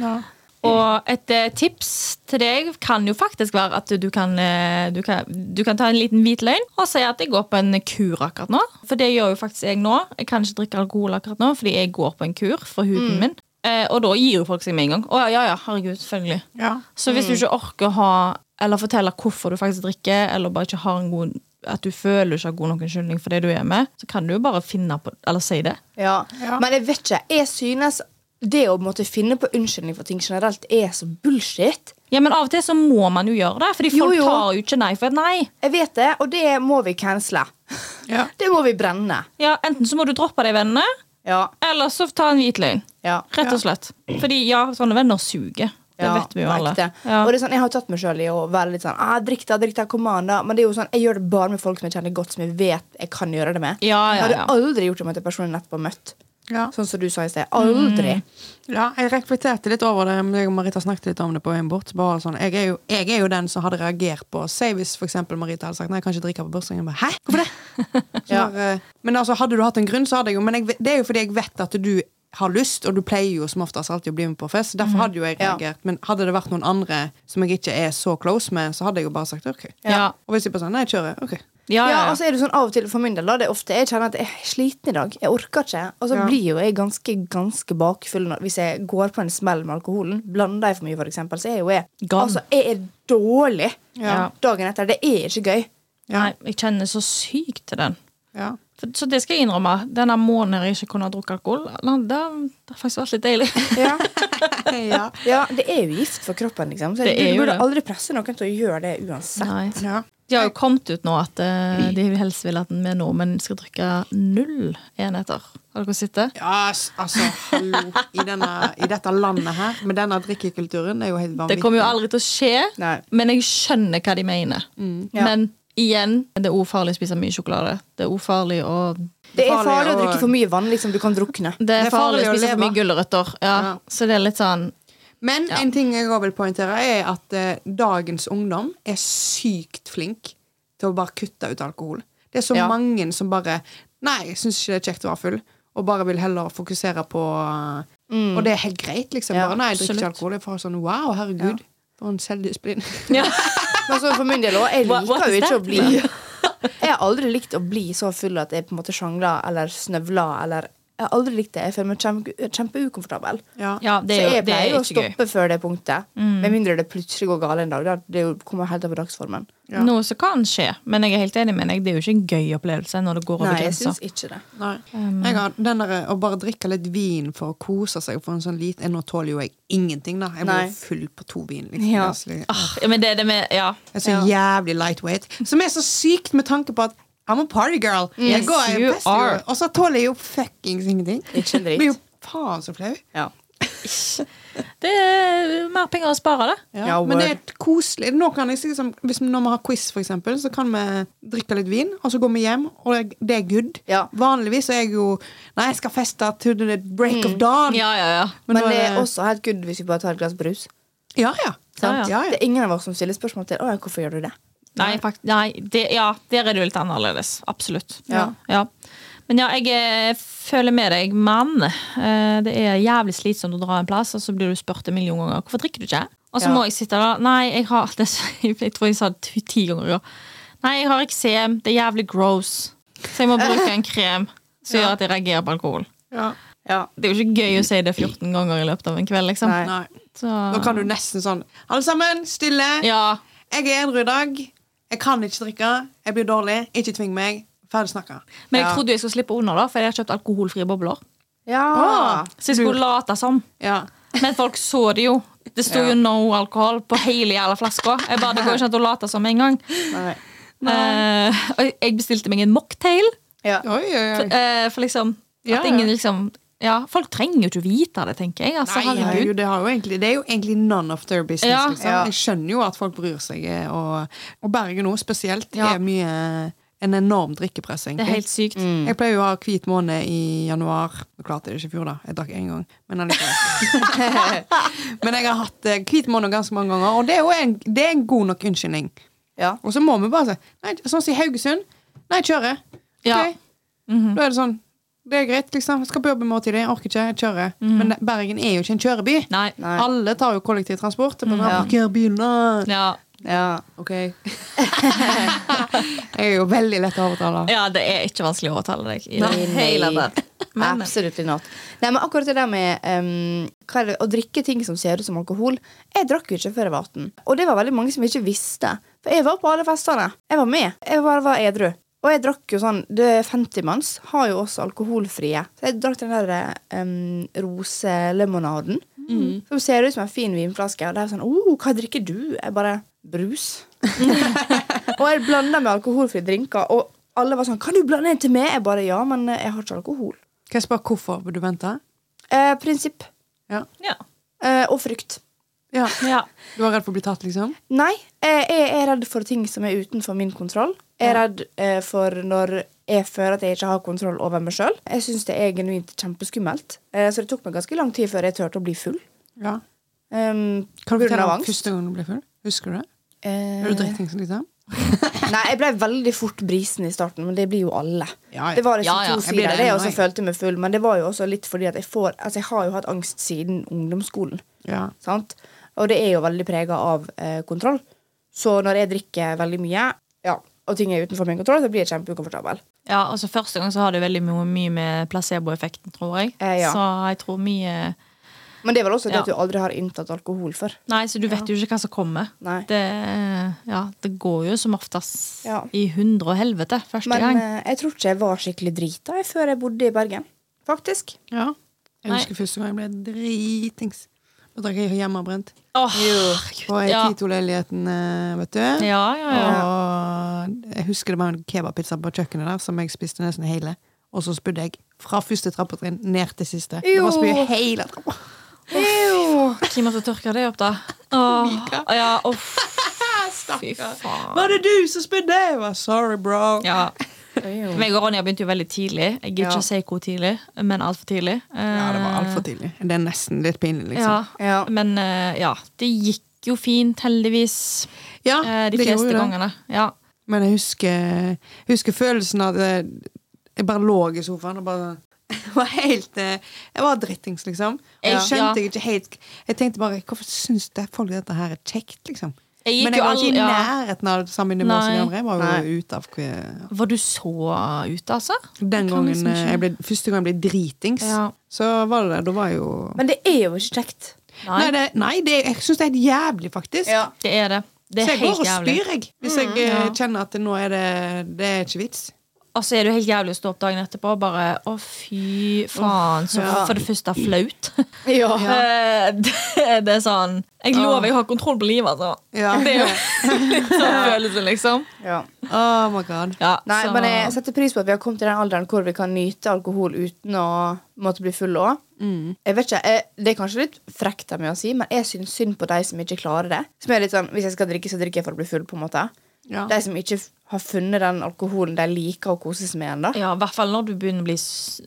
Speaker 2: Og et eh, tips til deg kan jo faktisk være at du kan, eh, du kan, du kan ta en liten hvit løgn og si at jeg går på en kur akkurat nå. For det gjør jo faktisk jeg nå. Jeg kan ikke drikke alkohol akkurat nå fordi jeg går på en kur for
Speaker 3: Mm.
Speaker 2: huden min. Eh, og da gir jo folk seg med en gang. Å ja, ja, herregud, selvfølgelig.
Speaker 1: Ja.
Speaker 2: Så hvis du
Speaker 3: Mm.
Speaker 2: ikke orker å ha eller fortelle hvorfor du faktisk drikker, eller bare ikke har en god at du føler du ikke har god nok unnskyldning for det du er med, så kan du jo bare finne på Eller si det.
Speaker 3: Ja.
Speaker 1: Ja.
Speaker 3: Men jeg vet ikke. Jeg synes det å måtte finne på unnskyldning for ting generelt er så bullshit.
Speaker 2: Ja, Men av og til så må man jo gjøre det, fordi
Speaker 3: Jo,
Speaker 2: folk
Speaker 3: jo.
Speaker 2: tar jo ikke nei for et nei.
Speaker 3: Jeg vet det, og det må vi cancele.
Speaker 1: Ja.
Speaker 3: Det må vi brenne.
Speaker 2: Ja, Enten så må du droppe de vennene,
Speaker 3: Ja.
Speaker 2: eller så ta en hvit løgn.
Speaker 3: ja.
Speaker 2: Rett
Speaker 1: Ja.
Speaker 2: og slett. Fordi ja, sånne venner suger. Det
Speaker 3: Ja,
Speaker 2: vet vi jo
Speaker 3: på
Speaker 2: alle.
Speaker 3: ekte.
Speaker 2: Ja.
Speaker 3: Og det er sånn, Jeg har tatt meg sjøl i å være litt sånn ah, drikk da, drikk da, kom an da. Men det er jo sånn, jeg gjør det bare med folk som jeg kjenner godt, som jeg vet jeg kan gjøre det med.
Speaker 2: Ja, ja,
Speaker 3: Jeg
Speaker 2: ja.
Speaker 3: hadde aldri gjort det med en person jeg nettopp har møtt.
Speaker 1: Ja.
Speaker 3: Sånn som du sa i sted. Aldri.
Speaker 2: Mm.
Speaker 1: Ja, jeg reflekterte litt over det. men Jeg og Marita snakket litt om det på veien bort. Bare sånn, jeg, er jo, jeg er jo den som hadde reagert på Si hvis for eksempel Marita hadde sagt Nei, jeg kan ikke drikke på bursdagen. Jeg bare, Hæ? Hvorfor det? Så
Speaker 3: Ja.
Speaker 1: bare, men altså, hadde du hatt en grunn, så hadde jeg jo Men jeg, vet- det er jo fordi jeg vet at du har lyst, og du pleier jo som oftest alltid å bli med på fest. så Derfor hadde jo jeg
Speaker 3: Ja.
Speaker 1: reagert. Men hadde det vært noen andre som jeg ikke er så close med, så hadde jeg jo bare sagt OK.
Speaker 2: Ja.
Speaker 1: Og hvis de bare sånn Nei, kjører. OK.
Speaker 2: Ja,
Speaker 3: Ja,
Speaker 2: ja,
Speaker 3: og så er det sånn av og til for min del. Da, det er ofte, jeg kjenner at jeg er sliten i dag. Jeg orker ikke. Og så
Speaker 1: Ja.
Speaker 3: blir jo jeg ganske ganske bakfull når, hvis jeg går på en smell med alkoholen. Blander jeg for mye, for eksempel, så er jeg jo jeg
Speaker 2: Gone.
Speaker 3: Altså, jeg er dårlig
Speaker 2: Ja.
Speaker 3: dagen etter. Det er ikke gøy.
Speaker 1: Ja.
Speaker 2: Nei, jeg kjenner så sykt til den.
Speaker 1: Ja.
Speaker 2: For, så det skal jeg innrømme. Denne måneden jeg ikke kunne ha drukket alkohol, det, det har faktisk vært litt deilig.
Speaker 3: Ja.
Speaker 1: ja.
Speaker 3: ja, Det er jo gift for kroppen, liksom. Så
Speaker 2: Det er
Speaker 3: du
Speaker 2: jo
Speaker 3: burde
Speaker 2: det.
Speaker 3: aldri presse noen til å gjøre det uansett.
Speaker 2: Nei.
Speaker 1: ja.
Speaker 2: De har jo kommet ut nå at eh, de helst vil at vi nordmenn skal drikke null enheter. Har dere sett det?
Speaker 1: Ja, s- altså, hallo. I, denne, I dette landet her, med denne drikkekulturen, det er jo helt
Speaker 2: Det
Speaker 1: vanvittig.
Speaker 2: kommer jo aldri til å skje,
Speaker 3: Nei.
Speaker 2: men jeg skjønner hva de mener.
Speaker 3: Ja.
Speaker 2: Men igjen, det er ofarlig å spise mye sjokolade. Det er ofarlig å
Speaker 3: Det er farlig
Speaker 1: farlig
Speaker 3: å
Speaker 1: å-
Speaker 3: drikke for mye vann. liksom Du kan drukne.
Speaker 2: Det er farlig å spise for mye
Speaker 1: leve.
Speaker 2: gulrøtter. Ja.
Speaker 1: Ja.
Speaker 2: Så det er litt sånn
Speaker 1: Men
Speaker 2: Ja.
Speaker 1: en ting jeg også vil poengtere, er at eh, dagens ungdom er sykt flink til å bare kutte ut alkohol. Det er så
Speaker 3: Ja.
Speaker 1: mange som bare Nei, jeg syns ikke det er kjekt å være full, og bare vil heller fokusere på eh, Og det er helt greit, liksom.
Speaker 3: Ja,
Speaker 1: bare, nei, jeg drikker ikke
Speaker 2: Mm. absolutt.
Speaker 1: alkohol. Jeg får sånn wow, herregud. For en selvdisiplin.
Speaker 2: ja.
Speaker 3: Men så for min del også, jeg
Speaker 2: What- what
Speaker 3: liker jo
Speaker 2: is
Speaker 3: ikke
Speaker 2: that?
Speaker 3: å bli Jeg har aldri likt å bli så full at jeg på en måte sjangler eller snøvler eller Jeg har aldri likt det. Jeg føler meg kjempe, kjempeukomfortabel.
Speaker 1: Ja.
Speaker 2: ja, det
Speaker 3: så
Speaker 2: er jo
Speaker 3: jeg
Speaker 2: det
Speaker 3: pleier
Speaker 2: er
Speaker 3: jo å
Speaker 2: ikke gøy. Mm.
Speaker 3: stoppe før det punktet. Med mindre det plutselig går galt en dag. Da. Det er jo- kommer helt av på dagsformen.
Speaker 1: Ja.
Speaker 2: Noe som kan skje, men jeg er helt enig med deg. Det er jo ikke en gøy opplevelse når det går over
Speaker 3: Nei, jeg syns
Speaker 2: grensa.
Speaker 3: ikke det.
Speaker 1: Nei. jeg har den der, eh, å bare drikke litt vin for å kose seg for en sånn liten Nå tåler jo jeg ingenting, da. Jeg blir
Speaker 3: Nei.
Speaker 1: jo full på to vin. Liksom.
Speaker 3: Ja.
Speaker 1: Jeg
Speaker 2: Ah, ja, men det er det med Ja.
Speaker 1: er så jævlig lightweight. Som er så sykt med tanke på at I'm a party girl.
Speaker 2: Yes,
Speaker 1: jeg går, jeg
Speaker 2: you
Speaker 1: fester jo.
Speaker 2: are.
Speaker 1: Og så tåler jeg jo fuckings ingenting.
Speaker 3: Ikke en dritt.
Speaker 1: Blir jo faen så flau.
Speaker 3: Ja.
Speaker 2: Det er mer penger å spare, det.
Speaker 1: Ja,
Speaker 3: Ja,
Speaker 1: men det
Speaker 3: word.
Speaker 1: er et koselig Nå kan jeg liksom, hvis, Når vi har quiz, for eksempel, så kan vi drikke litt vin, og så går vi hjem, og det- det er good.
Speaker 3: Ja.
Speaker 1: Vanligvis er jeg jo Nei, jeg skal feste til the break of dawn.
Speaker 2: Ja, ja, ja.
Speaker 1: Men
Speaker 3: Men
Speaker 1: nå er
Speaker 3: det
Speaker 1: det-
Speaker 3: er også helt good hvis vi bare tar et glass brus.
Speaker 1: Ja, ja.
Speaker 2: Sant?
Speaker 1: ja, ja.
Speaker 3: Det er ingen av oss som stiller spørsmål til Å, ja, hvorfor gjør du det.
Speaker 2: Nei, fakt nei det, ja, der er det jo litt annerledes. Absolutt.
Speaker 3: Ja.
Speaker 2: Ja. Men ja, jeg eh, føler med deg, mann. Eh, Det er jævlig slitsomt å dra en plass, og så blir du spurt en million ganger hvorfor drikker du ikke. Og så
Speaker 3: Ja.
Speaker 2: må jeg sitte der. Nei, jeg har det, Jeg tror jeg sa det ti- ti ganger i år. Nei, jeg har eksem. Det er jævlig gross. Så jeg må bruke en krem som gjør at jeg reagerer på alkohol.
Speaker 1: ja.
Speaker 3: Ja.
Speaker 2: Det er jo ikke gøy å si det 14 ganger i løpet av en kveld, liksom.
Speaker 3: Nei.
Speaker 1: Nei.
Speaker 2: Så,
Speaker 1: Nå kan du nesten sånn Alle sammen, stille.
Speaker 2: ja,
Speaker 1: Jeg er edru i dag. Jeg kan ikke drikke. Jeg blir dårlig. Ikke tving meg. Ferdig snakka.
Speaker 2: Men jeg
Speaker 3: Ja.
Speaker 2: trodde jeg skulle slippe unna, da, for jeg har kjøpt alkoholfrie bobler.
Speaker 3: Ja.
Speaker 2: Så jeg skulle late som.
Speaker 1: Ja.
Speaker 2: Men folk så det jo. Det sto jo 'no alcohol' på hele jævla flaska. Jeg bare, det går ikke an å late som engang.
Speaker 3: Nei.
Speaker 2: Uh, jeg bestilte meg en mocktail.
Speaker 3: Ja.
Speaker 1: Oi, oi, oi.
Speaker 2: eh, for liksom
Speaker 1: Ja,
Speaker 2: At
Speaker 1: ja.
Speaker 2: ingen liksom Ja, folk trenger jo ikke vite det, tenker jeg. Altså,
Speaker 1: Nei, herregud,
Speaker 2: herregud.
Speaker 1: det, har jo egentlig, det er jo egentlig none of their business.
Speaker 2: Ja.
Speaker 1: liksom.
Speaker 3: Ja.
Speaker 1: Jeg skjønner jo at folk bryr seg. eh, Og, og Bergen nå spesielt
Speaker 2: Ja.
Speaker 1: er mye en enorm drikkepress.
Speaker 2: Det
Speaker 1: egentlig.
Speaker 2: er helt sykt.
Speaker 1: Jeg pleier jo å ha hvit måned i januar. Nå klarte jeg det ikke i fjor, da. Jeg drakk én gang. Men, allikevel. men jeg har hatt eh, hvit måned ganske mange ganger, og det er jo en, det er en god nok unnskyldning.
Speaker 3: Ja.
Speaker 1: Og så må vi bare si nei, Sånn som i Haugesund. Nei, kjører. Ok.
Speaker 2: Ja. Mhm.
Speaker 1: Da er det sånn. Det er greit, liksom. Jeg skal på jobb i morgen tidlig. Jeg orker ikke. Jeg kjører. Men Bergen er jo ikke en kjøreby.
Speaker 2: Mhm. Nei. Mhm.
Speaker 3: Nei.
Speaker 1: Alle tar jo kollektivtransport. Det er bare,
Speaker 3: Ja.
Speaker 1: Parker bilen, da.
Speaker 2: Ja.
Speaker 3: Ja.
Speaker 1: Ok. jeg er jo veldig lett å overtale.
Speaker 2: ja, det er ikke vanskelig å overtale deg. I
Speaker 3: Nei.
Speaker 2: det hele tatt. Men, men.
Speaker 3: Absolutt not. Nei, men akkurat det der med ehm, hva er det, å drikke ting som ser ut som alkohol Jeg drakk jo ikke før jeg var 18. Og det var veldig mange som ikke visste. For jeg var på alle festene. Jeg var med. Jeg bare var edru. Og jeg drakk jo sånn Det 50-manns har jo også alkoholfrie. Så jeg drakk den der ehm, roselemonaden.
Speaker 2: Mm.
Speaker 3: Som ser ut som en fin vinflaske. Og det er sånn oh, hva drikker du? Jeg bare Brus. Og jeg blanda med alkoholfrie drinker. Og alle var sånn Kan du blande en til meg? Jeg bare ja, men jeg har ikke alkohol.
Speaker 1: Kan jeg spørre hvorfor du venter?
Speaker 3: Eh, prinsipp.
Speaker 1: Ja.
Speaker 2: Ja.
Speaker 3: Eh, og frykt.
Speaker 1: ja.
Speaker 2: Ja.
Speaker 1: Du var redd for å bli tatt, liksom?
Speaker 3: Nei, eh, jeg er redd for ting som er utenfor min kontroll. Jeg er redd eh, for når jeg føler at jeg ikke har kontroll over meg sjøl. Jeg syns det er genuint kjempeskummelt. Eh, Så det tok meg ganske lang tid før jeg turte å bli full.
Speaker 1: Ja.
Speaker 3: Um,
Speaker 1: Kan du
Speaker 3: på grunn
Speaker 1: fortelle
Speaker 3: av
Speaker 1: om
Speaker 3: angst.
Speaker 1: første gang du ble full? Husker du det?
Speaker 3: Eh,
Speaker 1: Ble du dritings liksom?
Speaker 3: Nei, jeg ble veldig fort brisen i starten, men det blir jo alle.
Speaker 1: Ja, ja.
Speaker 3: Det var liksom
Speaker 2: Ja, ja,
Speaker 3: to
Speaker 1: jeg blir
Speaker 3: sider.
Speaker 1: det
Speaker 3: Det jeg
Speaker 1: ennå,
Speaker 3: også
Speaker 1: jeg.
Speaker 3: følte meg full, men det var jo også litt fordi at jeg får Altså, jeg har jo hatt angst siden ungdomsskolen,
Speaker 1: Ja.
Speaker 3: sant? Og det er jo veldig prega av eh, kontroll. Så når jeg drikker veldig mye, ja, og ting er utenfor min kontroll, så blir jeg kjempeukomfortabel.
Speaker 2: Ja, altså Første gang så har det veldig mye, mye med placeboeffekten, tror jeg.
Speaker 3: Eh, ja.
Speaker 2: Så jeg tror mye
Speaker 3: Men det er vel også det
Speaker 2: Ja.
Speaker 3: at du aldri har inntatt alkohol før.
Speaker 2: Nei, så du vet jo ikke hva som kommer.
Speaker 3: Nei.
Speaker 2: Det, ja, det går jo som oftest
Speaker 3: Ja.
Speaker 2: i hundre og helvete første
Speaker 3: Men
Speaker 2: gang.
Speaker 3: eh, jeg tror ikke jeg var skikkelig drita jeg, før jeg bodde i Bergen. Faktisk.
Speaker 1: ja. Jeg
Speaker 2: Nei.
Speaker 1: husker første gang jeg ble dritings. Da drakk jeg hjemmebrent.
Speaker 2: Åh,
Speaker 1: På ei
Speaker 2: ja.
Speaker 1: Tito-leiligheten, eh, vet du.
Speaker 2: ja, ja, ja.
Speaker 1: Og jeg husker det var en kebabpizza på kjøkkenet der som jeg spiste nesten hele. Og så spydde jeg fra første trappetrinn ned til siste. Det var spy
Speaker 3: Jo.
Speaker 1: hele trappa.
Speaker 2: Hvem måtte tørke det opp, da? Åh, ja, uff. Fy faen.
Speaker 1: Var det du som spydde? Jeg var sorry, bro.
Speaker 2: Ja.
Speaker 3: Jo.
Speaker 2: Meg og Ronja begynte jo veldig tidlig. Jeg gidder
Speaker 3: Ja.
Speaker 2: ikke å si hvor tidlig, men altfor tidlig. Eh,
Speaker 1: Ja, det var altfor tidlig. Det er nesten litt pinlig, liksom.
Speaker 2: Ja.
Speaker 3: Ja.
Speaker 2: Men eh, ja, det gikk jo fint, heldigvis.
Speaker 1: Ja,
Speaker 2: eh, de
Speaker 1: det gjorde
Speaker 2: fleste
Speaker 1: det.
Speaker 2: gangene. Ja.
Speaker 1: Men jeg husker, jeg husker følelsen av at jeg bare lå i sofaen og bare jeg var helt eh, Jeg var drittings, liksom. Og jeg
Speaker 2: Jeg- ja.
Speaker 1: skjønte jeg ikke helt Jeg tenkte bare Hvorfor syns det folk dette her er kjekt, liksom?
Speaker 2: Jeg gikk
Speaker 1: Men jeg
Speaker 2: jo
Speaker 1: var ikke i
Speaker 2: all- ja.
Speaker 1: nærheten av det samme nivå som de
Speaker 2: Nei.
Speaker 1: andre. Jeg var
Speaker 3: Nei.
Speaker 1: jo ute av eh,
Speaker 2: Var du så ute, altså?
Speaker 1: Den
Speaker 2: kan
Speaker 1: gangen
Speaker 2: liksom
Speaker 1: eh,
Speaker 2: ikke-
Speaker 1: jeg ble, første gang jeg ble dritings,
Speaker 2: Ja.
Speaker 1: så var det Da var jeg jo
Speaker 3: Men det er jo ikke kjekt.
Speaker 2: Nei,
Speaker 1: Nei, det, nei det, jeg syns det er helt jævlig, faktisk.
Speaker 3: Ja.
Speaker 2: det er det. Det
Speaker 1: så
Speaker 2: er
Speaker 1: jeg går
Speaker 2: helt
Speaker 1: og
Speaker 2: jævlig. Mm,
Speaker 1: spyr, jeg. Hvis jeg eh,
Speaker 2: Ja.
Speaker 1: kjenner at nå er det Det er ikke vits.
Speaker 2: Og så er det jo helt jævlig å stå opp dagen etterpå og bare Å, fy faen. Så
Speaker 1: Ja.
Speaker 2: for det første flaut.
Speaker 3: Ja.
Speaker 2: Eh, det, det er sånn Jeg lover jeg har kontroll på livet, altså.
Speaker 1: Ja.
Speaker 2: Det er jo litt sånn følelse, liksom.
Speaker 3: ja.
Speaker 1: Oh my god.
Speaker 2: Ja,
Speaker 3: Nei,
Speaker 2: så-
Speaker 3: men jeg setter pris på at vi har kommet til den alderen hvor vi kan nyte alkohol uten å måtte bli full òg.
Speaker 1: Mm.
Speaker 3: Jeg vet ikke, jeg, Det er kanskje litt frekt av meg å si, men jeg syns synd på de som ikke klarer det. Som er litt sånn, Hvis jeg skal drikke, så drikker jeg for å bli full. på en måte
Speaker 1: Ja.
Speaker 3: De som ikke f- har funnet den alkoholen de liker å kose seg med ennå.
Speaker 2: Ja, i hvert fall når du begynner å bli s-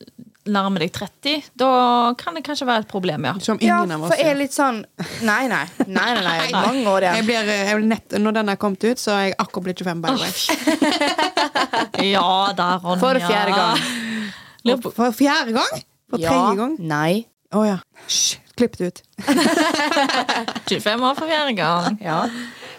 Speaker 2: nærme deg 30. Da kan det kanskje være et problem, ja.
Speaker 1: Som
Speaker 3: Ja,
Speaker 1: ingen av
Speaker 3: for
Speaker 1: oss
Speaker 3: jeg er
Speaker 1: gjør.
Speaker 3: litt sånn Nei, nei. nei, nei, nei Mange år
Speaker 1: Jeg
Speaker 3: igjen.
Speaker 1: blir, eh, jeg blir nett, når den er kommet ut, så er jeg akkurat blitt 25. By the way.
Speaker 2: Ja, der, Ronja.
Speaker 3: For fjerde gang.
Speaker 2: Lurer på-
Speaker 1: For fjerde gang? For tredje gang?
Speaker 3: Nei.
Speaker 1: Å ja. Hysj. Klipp det ut.
Speaker 2: 25 år for fjerde gang.
Speaker 3: Ja.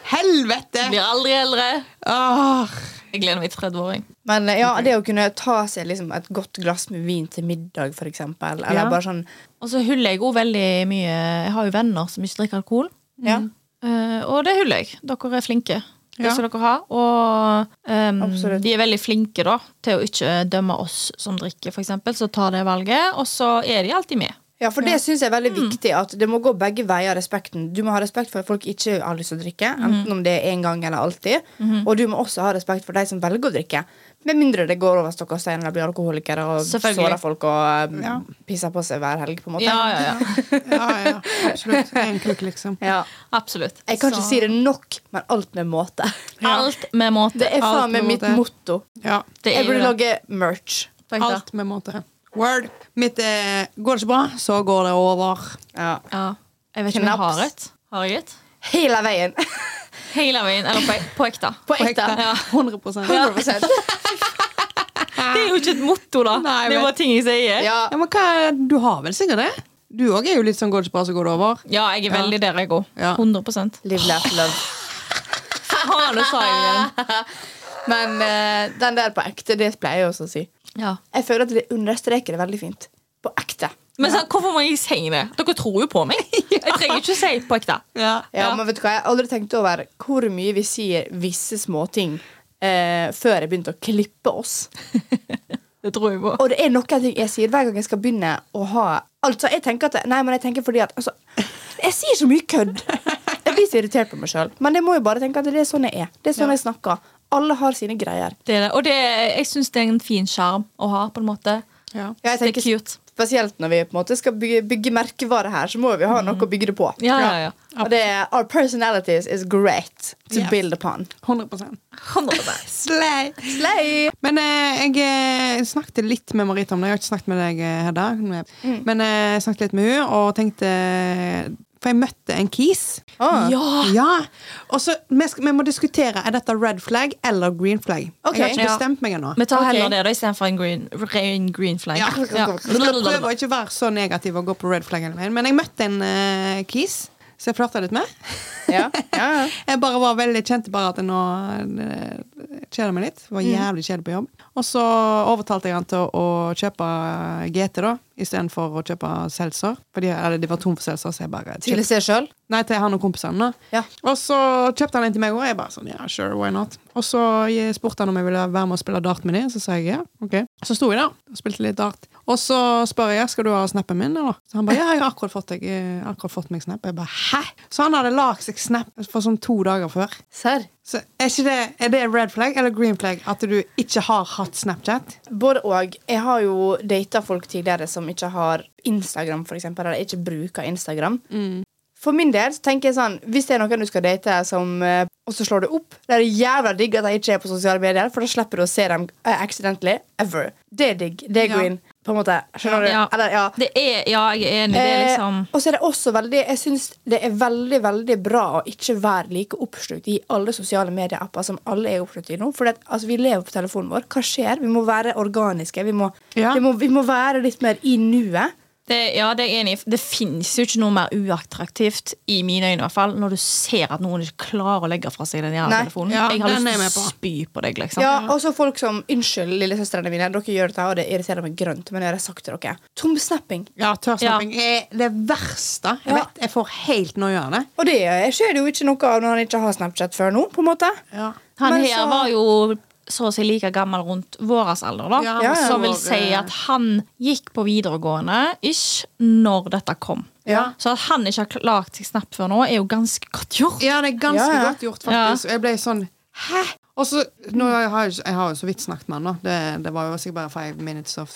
Speaker 1: Helvete!
Speaker 2: Blir aldri eldre.
Speaker 1: Åh.
Speaker 2: Jeg gleder meg til 30-åring.
Speaker 3: Men eh, ja, det å kunne ta seg liksom, et godt glass med vin til middag, for eksempel. Eller
Speaker 1: Ja.
Speaker 3: bare sånn
Speaker 2: Og så huller jeg òg veldig mye Jeg har jo venner som ikke drikker alkohol.
Speaker 3: Ja.
Speaker 2: Eh, og det huller jeg. Dere er flinke. Det
Speaker 1: Ja.
Speaker 2: skal dere ha. Og ehm,
Speaker 3: Absolutt.
Speaker 2: de er veldig flinke da til å ikke dømme oss som drikker, f.eks. Så tar det valget, og så er de alltid med.
Speaker 3: Ja, for det synes jeg er veldig viktig. At det må gå begge veier. respekten Du må ha respekt for at folk ikke har lyst til å drikke, enten om det er en gang eller alltid. Og du må også ha respekt for de som velger å drikke. Med mindre det går over stokk og stein eller blir alkoholikere og
Speaker 2: Selvfølgelig.
Speaker 3: sårer folk og um,
Speaker 1: Ja.
Speaker 3: pisser på seg hver helg. på en måte
Speaker 2: Ja, ja, ja.
Speaker 1: Ja, ja. Absolutt. En kukk, liksom.
Speaker 3: Ja.
Speaker 2: Absolutt.
Speaker 3: Jeg kan
Speaker 2: Så-
Speaker 3: ikke si det nok, men alt med måte.
Speaker 2: Alt med måte.
Speaker 3: Det er
Speaker 1: Alt
Speaker 3: faen
Speaker 1: med
Speaker 3: meg mitt
Speaker 1: måte.
Speaker 3: motto.
Speaker 1: Ja.
Speaker 2: Det er
Speaker 3: Jeg
Speaker 2: jo
Speaker 3: burde
Speaker 2: det.
Speaker 3: lage merch.
Speaker 2: Fakta.
Speaker 1: Alt med måte. Word. Mitt eh, Går det ikke bra, så går det over.
Speaker 3: Ja.
Speaker 2: Ja. Jeg vet ikke om jeg
Speaker 3: Knaps.
Speaker 2: har et. Har jeg et?
Speaker 3: Hele veien.
Speaker 2: Hele veien. Eller på, på ekte.
Speaker 3: På
Speaker 1: På
Speaker 3: ekte.
Speaker 1: ekte. 100 ja.
Speaker 3: 100
Speaker 2: Det er jo ikke et motto, da.
Speaker 1: Nei,
Speaker 2: det er
Speaker 1: men-
Speaker 2: bare ting jeg sier. Ja,
Speaker 3: Ja.
Speaker 1: men hva, Du har vel sikkert det? Du òg er jo litt sånn 'går det ikke bra, så går det over'.
Speaker 2: jeg er veldig der jeg går.
Speaker 1: Ja.
Speaker 2: 100
Speaker 3: Live, laugh, love.
Speaker 2: Faen, det sa jeg jo igjen.
Speaker 3: Men eh, den der på ekte, det pleier jeg også å si.
Speaker 2: Ja.
Speaker 3: Jeg føler at det understreker det veldig fint. På ekte.
Speaker 2: Men sånn, hvorfor må jeg si det? Dere tror jo på meg. Jeg trenger ikke å si på ekte.
Speaker 3: Ja,
Speaker 2: Ja.
Speaker 3: Men vet du hva, jeg har aldri tenkt over hvor mye vi sier visse småting eh, før jeg begynte å klippe oss.
Speaker 2: Det tror jeg på.
Speaker 3: Og det er noen ting jeg sier hver gang jeg skal begynne å ha Altså, jeg tenker at Nei, men jeg tenker fordi at altså, Jeg sier så mye kødd. Jeg blir så irritert på meg sjøl. Men jeg må jo bare tenke at det er sånn jeg er. Det er sånn jeg snakker. Alle har sine greier.
Speaker 2: Det er det. Og det, jeg syns det er en fin sjarm å ha, på en måte.
Speaker 1: Ja.
Speaker 3: Ja, jeg
Speaker 2: det er
Speaker 3: tenker-
Speaker 2: cute.
Speaker 3: Spesielt når vi på en måte skal bygge, bygge merkevare her, så må vi ha noe å bygge det på.
Speaker 2: Ja, ja, ja.
Speaker 3: Og det er Our personalities is great to
Speaker 1: Yes.
Speaker 3: build upon.
Speaker 1: 100
Speaker 2: 100%.
Speaker 1: Slay!
Speaker 3: Slay!
Speaker 1: Men eh, jeg eh, snakket litt med Marita om det. Jeg har ikke snakket med deg, eh, Hedda.
Speaker 2: Mm.
Speaker 1: Men eh, jeg snakket litt med henne og tenkte For jeg møtte en kis.
Speaker 3: Ah.
Speaker 2: Ja!
Speaker 1: Ja. Og så vi, skal- vi må diskutere er dette red flag eller green flag.
Speaker 3: Ok.
Speaker 1: Jeg har ikke
Speaker 2: Ja.
Speaker 1: bestemt meg ennå.
Speaker 2: Vi tar
Speaker 3: Ok.
Speaker 2: heller det da, istedenfor en green, ren green flag.
Speaker 1: Ja.
Speaker 2: Ja.
Speaker 1: Jeg skal prøve å ikke være så negativ og gå på red flag hele veien. Men jeg møtte en eh, kis som jeg flørta litt med.
Speaker 3: Ja. Ja, ja.
Speaker 1: Jeg bare var veldig, kjente bare at jeg nå eh, kjeder meg litt. Var
Speaker 3: Mm.
Speaker 1: jævlig kjedelig på jobb. Og så overtalte jeg han til å, å kjøpe eh, GT, da, istedenfor å kjøpe Seltzer. Fordi eller, de var tom for Seltzer, så jeg bare
Speaker 3: Til å
Speaker 1: kjøpte.
Speaker 3: se sjøl.
Speaker 1: Nei, til han og kompisene. da.
Speaker 3: Ja.
Speaker 1: Og så kjøpte han en til meg òg. Jeg bare sånn, ja, sure, why not? Og så jeg spurte han om jeg ville være med og spille dart med dem. Så sa jeg ja. ok. Så sto vi der og spilte litt dart. Og så spør jeg skal du ha snappen min. eller? Så han bare ja, jeg har akkurat fått, deg, eh, akkurat fått meg snap. Jeg bare hæ? Så han hadde lagd seg snap for sånn to dager før.
Speaker 3: Serr.
Speaker 1: Så er, ikke det, er det red flag eller green flag at du ikke har hatt Snapchat?
Speaker 3: Både og. Jeg har jo data folk tidligere som ikke har Instagram, for eksempel, eller ikke bruker Instagram. For min del så tenker jeg sånn hvis det er noen du skal date, som, eh, og så slår du opp Det er det jævla digg at de ikke er på sosiale medier, for da slipper du å se dem eh, accidentally ever. Det er digg. Det er
Speaker 1: Ja.
Speaker 3: green. På en måte. Skjønner du?
Speaker 2: Ja.
Speaker 3: Eller, ja.
Speaker 2: Det er, ja, jeg er enig. Det er liksom
Speaker 3: Eh, og så er det også veldig Jeg synes det er veldig veldig bra å ikke være like oppslukt i alle sosiale medieapper som alle er oppslukt i nå. For det, at- altså, vi lever på telefonen vår. Hva skjer? Vi må være organiske. Vi må,
Speaker 1: Ja.
Speaker 3: vi må, vi må være litt mer i nuet.
Speaker 2: det, ja, det er jeg enig i. Det finnes jo ikke noe mer uattraktivt, i mine øyne i hvert fall, når du ser at noen ikke klarer å legge fra seg den jævla
Speaker 3: Nei.
Speaker 2: telefonen.
Speaker 1: Ja,
Speaker 2: jeg har
Speaker 1: den er jeg med
Speaker 2: lyst til
Speaker 1: på.
Speaker 2: å spy på deg, liksom.
Speaker 3: Ja, og så folk som Unnskyld, lillesøstrene mine, dere gjør dette, og det irriterer meg grønt, men jeg har sagt til dere. Tomsnapping.
Speaker 1: Ja, Tørrsnapping er det verste. Jeg
Speaker 3: Ja.
Speaker 1: vet, jeg får helt noia av det.
Speaker 3: Og det eh, skjer det jo ikke noe av når han ikke har Snapchat før nå, på en måte.
Speaker 1: Ja.
Speaker 2: Han
Speaker 3: Men
Speaker 2: her
Speaker 3: så-
Speaker 2: var jo så å si like gammel rundt våres alder, da.
Speaker 1: Ja,
Speaker 3: Ja, ja.
Speaker 2: Som vil
Speaker 1: vår,
Speaker 2: si
Speaker 1: eh,
Speaker 2: at han gikk på videregående ish når dette kom.
Speaker 3: Ja.
Speaker 2: Så at han ikke har lagd seg snap før nå, er jo ganske godt gjort.
Speaker 1: Ja, det er ganske
Speaker 3: Ja, ja.
Speaker 1: godt gjort, faktisk. Og Jeg ble sånn Hæ? Og så, nå har jeg, jo ikke- jeg har jo så vidt snakket med han, da. Det, det var jo sikkert bare five minutes of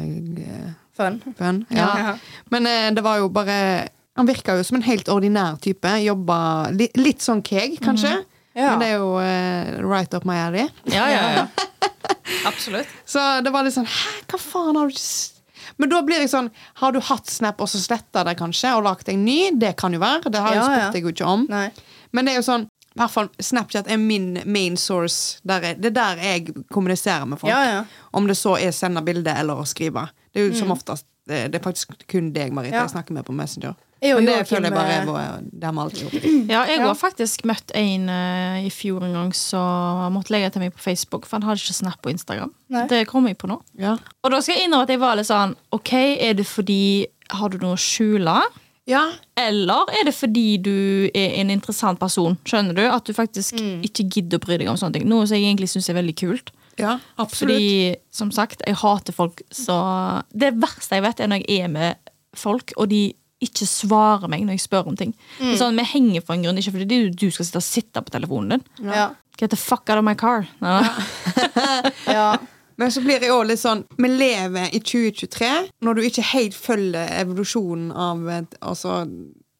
Speaker 1: eh,
Speaker 3: Fun.
Speaker 1: fun. Ja.
Speaker 3: Ja.
Speaker 1: Men eh, det var jo bare Han virka jo som en helt ordinær type. Jobba li, litt sånn keeg, kanskje.
Speaker 3: Mhm. Ja.
Speaker 1: Men det er jo eh, right up my alley.
Speaker 2: Ja, ja, ja. Absolutt.
Speaker 1: Så det var litt sånn Hæ, hva faen har du s- Men da blir jeg sånn Har du hatt Snap og så sletta det, kanskje, og lagd en ny? Det kan jo være. Det har jeg
Speaker 3: Ja,
Speaker 1: spurt
Speaker 3: ja.
Speaker 1: deg jo ikke om.
Speaker 3: Nei.
Speaker 1: Men det er jo sånn i hvert fall Snapchat er min main source. Der jeg, det er der jeg kommuniserer med folk.
Speaker 3: Ja, ja.
Speaker 1: Om det så er sende bilde eller å skrive. Det er jo som oftest eh, det det er faktisk kun deg, Marita,
Speaker 3: Ja.
Speaker 1: jeg snakker med på Messenger.
Speaker 3: Jeg og
Speaker 1: Men det
Speaker 3: Joakim,
Speaker 1: føler jeg bare
Speaker 3: eh,
Speaker 1: er vår- Det har vi alltid gjort.
Speaker 2: Ja, jeg
Speaker 3: Ja.
Speaker 2: har faktisk møtt en eh, i fjor en gang som måtte legge til meg på Facebook, for han hadde ikke Snap og Instagram.
Speaker 3: Nei.
Speaker 2: Det kom jeg på nå.
Speaker 1: Ja.
Speaker 2: Og da skal jeg innrømme at jeg var litt sånn OK, er det fordi Har du noe å skjule?
Speaker 1: ja.
Speaker 2: Eller er det fordi du er en interessant person? Skjønner du? At du faktisk
Speaker 3: Mm.
Speaker 2: ikke gidder å bry deg om sånne ting. Noe som jeg egentlig syns er veldig kult.
Speaker 1: absolutt.
Speaker 2: Fordi, som sagt, jeg hater folk så Det verste jeg vet, er når jeg er med folk, og de ikke svarer meg når jeg spør om ting.
Speaker 1: Mm.
Speaker 2: Det er Sånn, Vi henger for en grunn, ikke fordi du- du skal sitte og sitte på telefonen din.
Speaker 3: Ja.
Speaker 2: Get the fuck out of my car. Nei, nei.
Speaker 3: ja.
Speaker 1: Men så blir det jo litt sånn Vi lever i 2023. Når du ikke helt følger evolusjonen av et- altså,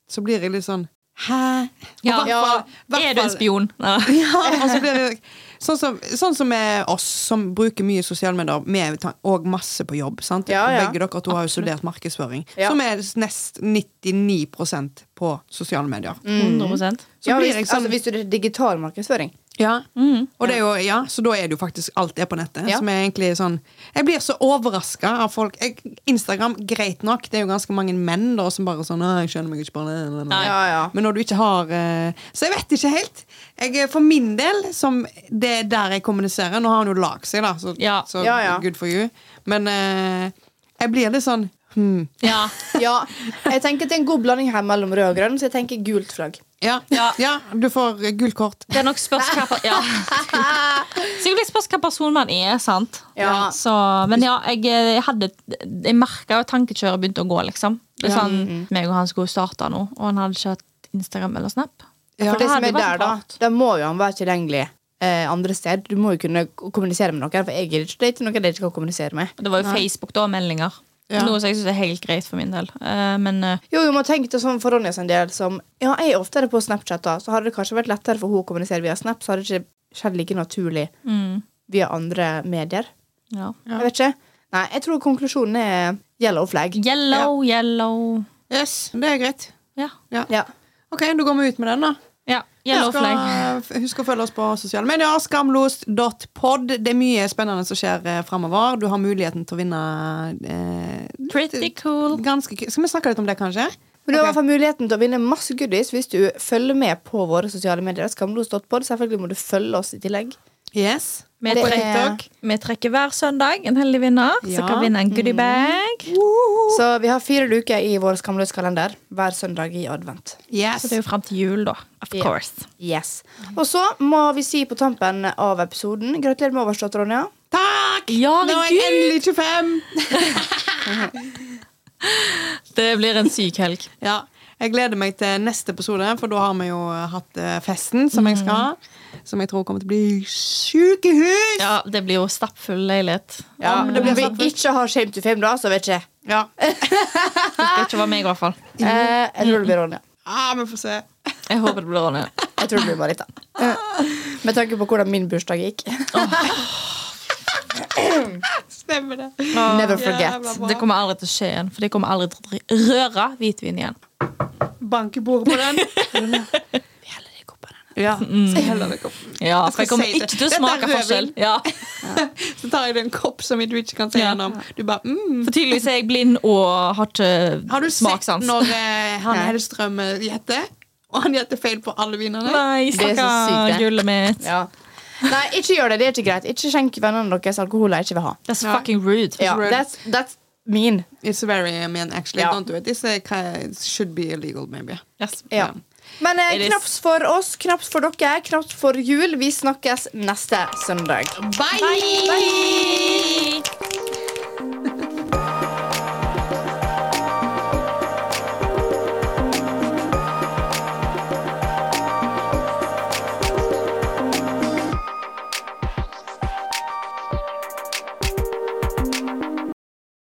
Speaker 1: Så blir jeg litt sånn Hæ? Og
Speaker 2: Ja.
Speaker 1: hvert fall- hvert
Speaker 2: Er du en
Speaker 1: fall-
Speaker 2: spion? Nei.
Speaker 1: Ja, og så blir Eh, altså, det Sånn som, sånn som med oss som bruker mye sosiale medier, med ta- og masse på jobb. sant?
Speaker 3: Ja, ja.
Speaker 1: Begge dere to har jo studert markedsføring,
Speaker 3: Ja.
Speaker 1: som er nest 99 på sosiale medier.
Speaker 2: 100
Speaker 1: Så
Speaker 3: Mm. ja
Speaker 1: blir
Speaker 3: hvis,
Speaker 1: jeg sånn-
Speaker 3: altså, hvis du er digital markedsføring.
Speaker 1: Ja. Og det er jo, ja, så da er det jo faktisk alt det på nettet.
Speaker 3: Mm. Ja.
Speaker 1: Som er egentlig sånn Jeg blir så overraska av folk. Jeg, Instagram, greit nok, det er jo ganske mange menn da som bare sånn «Åh, 'Jeg skjønner meg ikke på det'.
Speaker 2: Nei.
Speaker 3: Ja, ja.
Speaker 1: Men når du ikke har eh, Så jeg vet ikke helt. Jeg, eh, for min del, som det er der jeg kommuniserer Nå har han jo lagd seg, da, så,
Speaker 2: Ja.
Speaker 1: så
Speaker 3: Ja, ja.
Speaker 1: good for you. Men eh, jeg blir litt sånn hmm,
Speaker 2: Ja.
Speaker 3: Ja, jeg tenker Det er en god blanding her mellom rød og grønn, så jeg tenker gult flagg.
Speaker 1: ja, ja.
Speaker 2: Ja.
Speaker 1: du får eh, gult kort.
Speaker 2: Det er nok spørs hva, ja. Sikkert litt spørs hva person man er, sant?
Speaker 3: Ja.
Speaker 2: Så, men ja, jeg, jeg hadde Jeg merka jo at tankekjøret begynte å gå, liksom. Det er
Speaker 1: Ja.
Speaker 2: sånn,
Speaker 3: Mm.
Speaker 2: meg og han skulle starte nå, og han hadde ikke hatt Instagram eller Snap.
Speaker 1: Ja.
Speaker 3: For det som
Speaker 2: det hadde
Speaker 3: er
Speaker 2: vært
Speaker 3: der da,
Speaker 2: rart.
Speaker 3: da må jo han være tilgjengelig eh, andre sted. Du må jo kunne k- kommunisere med noen, for jeg gidder ikke date noen jeg ikke kan kommunisere med.
Speaker 2: Og det var jo Facebook, da, og meldinger.
Speaker 1: Ja.
Speaker 2: Noe som jeg synes er helt greit for min del. Eh, men eh,
Speaker 3: Jo, jo, men tenk det sånn for Ronja sin del som Ja, jeg er oftere på Snapchat, da, så hadde det kanskje vært lettere for hun å kommunisere via Snap, så hadde det ikke skjedd like naturlig
Speaker 2: mm,
Speaker 3: via andre medier.
Speaker 2: ja.
Speaker 1: Ja.
Speaker 3: Jeg vet ikke. Nei, jeg tror konklusjonen er yellow flag.
Speaker 2: Yellow, yellow.
Speaker 1: Yes, det er greit.
Speaker 2: Ja.
Speaker 3: Ja.
Speaker 1: Ok, da går vi ut med den, da.
Speaker 2: ja. Yellow
Speaker 1: Husk å-
Speaker 2: flag.
Speaker 1: Husk å følge oss på sosiale medier. Skamlost.pod. Det er mye spennende som skjer eh, fremover. Du har muligheten til å vinne eh,
Speaker 2: Pretty cool.
Speaker 1: ganske ku- Skal vi snakke litt om det, kanskje?
Speaker 3: Men du
Speaker 1: Ok.
Speaker 3: har i hvert fall muligheten til å vinne masse goodies hvis du følger med på våre sosiale medier. Skamlos.pod. Selvfølgelig må du følge oss i tillegg.
Speaker 1: Yes.
Speaker 2: Vi
Speaker 3: Det er-
Speaker 2: trekker, vi trekker hver søndag en heldig vinner
Speaker 1: Ja.
Speaker 2: som kan vinne en
Speaker 3: Mm.
Speaker 2: goodiebag.
Speaker 3: Så vi har fire luker i vår Skamløs-kalender hver søndag i advent.
Speaker 1: Yes.
Speaker 2: Så det er jo fram til jul, da. Of
Speaker 3: Ja.
Speaker 2: course.
Speaker 3: Yes. Og så må vi si på tampen av episoden Gratulerer med overstått, Ronja.
Speaker 1: Takk!
Speaker 2: Ja,
Speaker 1: Nå er jeg endelig 25!
Speaker 2: Det blir en syk helg.
Speaker 1: Ja. Jeg gleder meg til neste episode, for da har vi jo hatt eh, festen som jeg
Speaker 2: Mhm.
Speaker 1: skal ha. Som jeg tror kommer til å bli sjukehus!
Speaker 2: Ja, det blir jo stappfull leilighet.
Speaker 1: Ja, men det
Speaker 3: Om
Speaker 1: blir sånn
Speaker 3: vi
Speaker 1: stappfullt.
Speaker 3: ikke har shame to fame, da, så vet ikke jeg.
Speaker 1: Ja.
Speaker 2: Det skal ikke være meg, i hvert fall.
Speaker 3: Eh, jeg tror det blir Ronja.
Speaker 1: Ah, vi får se.
Speaker 2: Jeg håper det blir Ronja.
Speaker 3: Jeg tror det blir Marita. Eh, Med tanke på hvordan min bursdag gikk.
Speaker 1: Stemmer det.
Speaker 3: Never forget.
Speaker 1: Jævla bra.
Speaker 2: Det kommer aldri til å skje igjen, for de kommer aldri til å dri- røre hvitvin igjen.
Speaker 1: Bank i bordet på den. Ja, så heller det koppen.
Speaker 2: Ja,
Speaker 1: Jeg
Speaker 2: for
Speaker 1: skal
Speaker 2: jeg kommer
Speaker 1: si det.
Speaker 2: ikke til å
Speaker 1: Dette er
Speaker 2: smake
Speaker 1: rødvin.
Speaker 2: forskjell. Ja.
Speaker 1: Så tar jeg det i en kopp som du ikke kan se
Speaker 2: Ja.
Speaker 1: gjennom. Du bare, mm.
Speaker 2: For tydeligvis er jeg blind og har
Speaker 1: Har du
Speaker 2: ikke
Speaker 1: sett
Speaker 2: smakssans.
Speaker 1: når eh, han
Speaker 3: Nei.
Speaker 1: Hellstrøm eh, gjetter? Og han gjetter feil på alle vinene?
Speaker 2: Nei,
Speaker 3: Det er så sykt,
Speaker 2: stakkar
Speaker 3: det.
Speaker 2: gullet mitt.
Speaker 3: Ja. Nei, ikke gjør det. Det er ikke greit. Ikke skjenk vennene deres alkohol de ikke vil ha.
Speaker 2: That's
Speaker 1: Ja.
Speaker 2: fucking rude.
Speaker 3: Ja,
Speaker 1: rude.
Speaker 3: that's, that's mean.
Speaker 1: It's very I mean, actually.
Speaker 3: Ja.
Speaker 1: Don't do it. This eh, ca- should be illegal, maybe.
Speaker 2: Yes.
Speaker 3: Ja. Men
Speaker 2: It
Speaker 3: eh,
Speaker 2: is-
Speaker 3: knaps for oss, knaps for dere, knaps for jul. Vi snakkes neste søndag.
Speaker 1: Bye!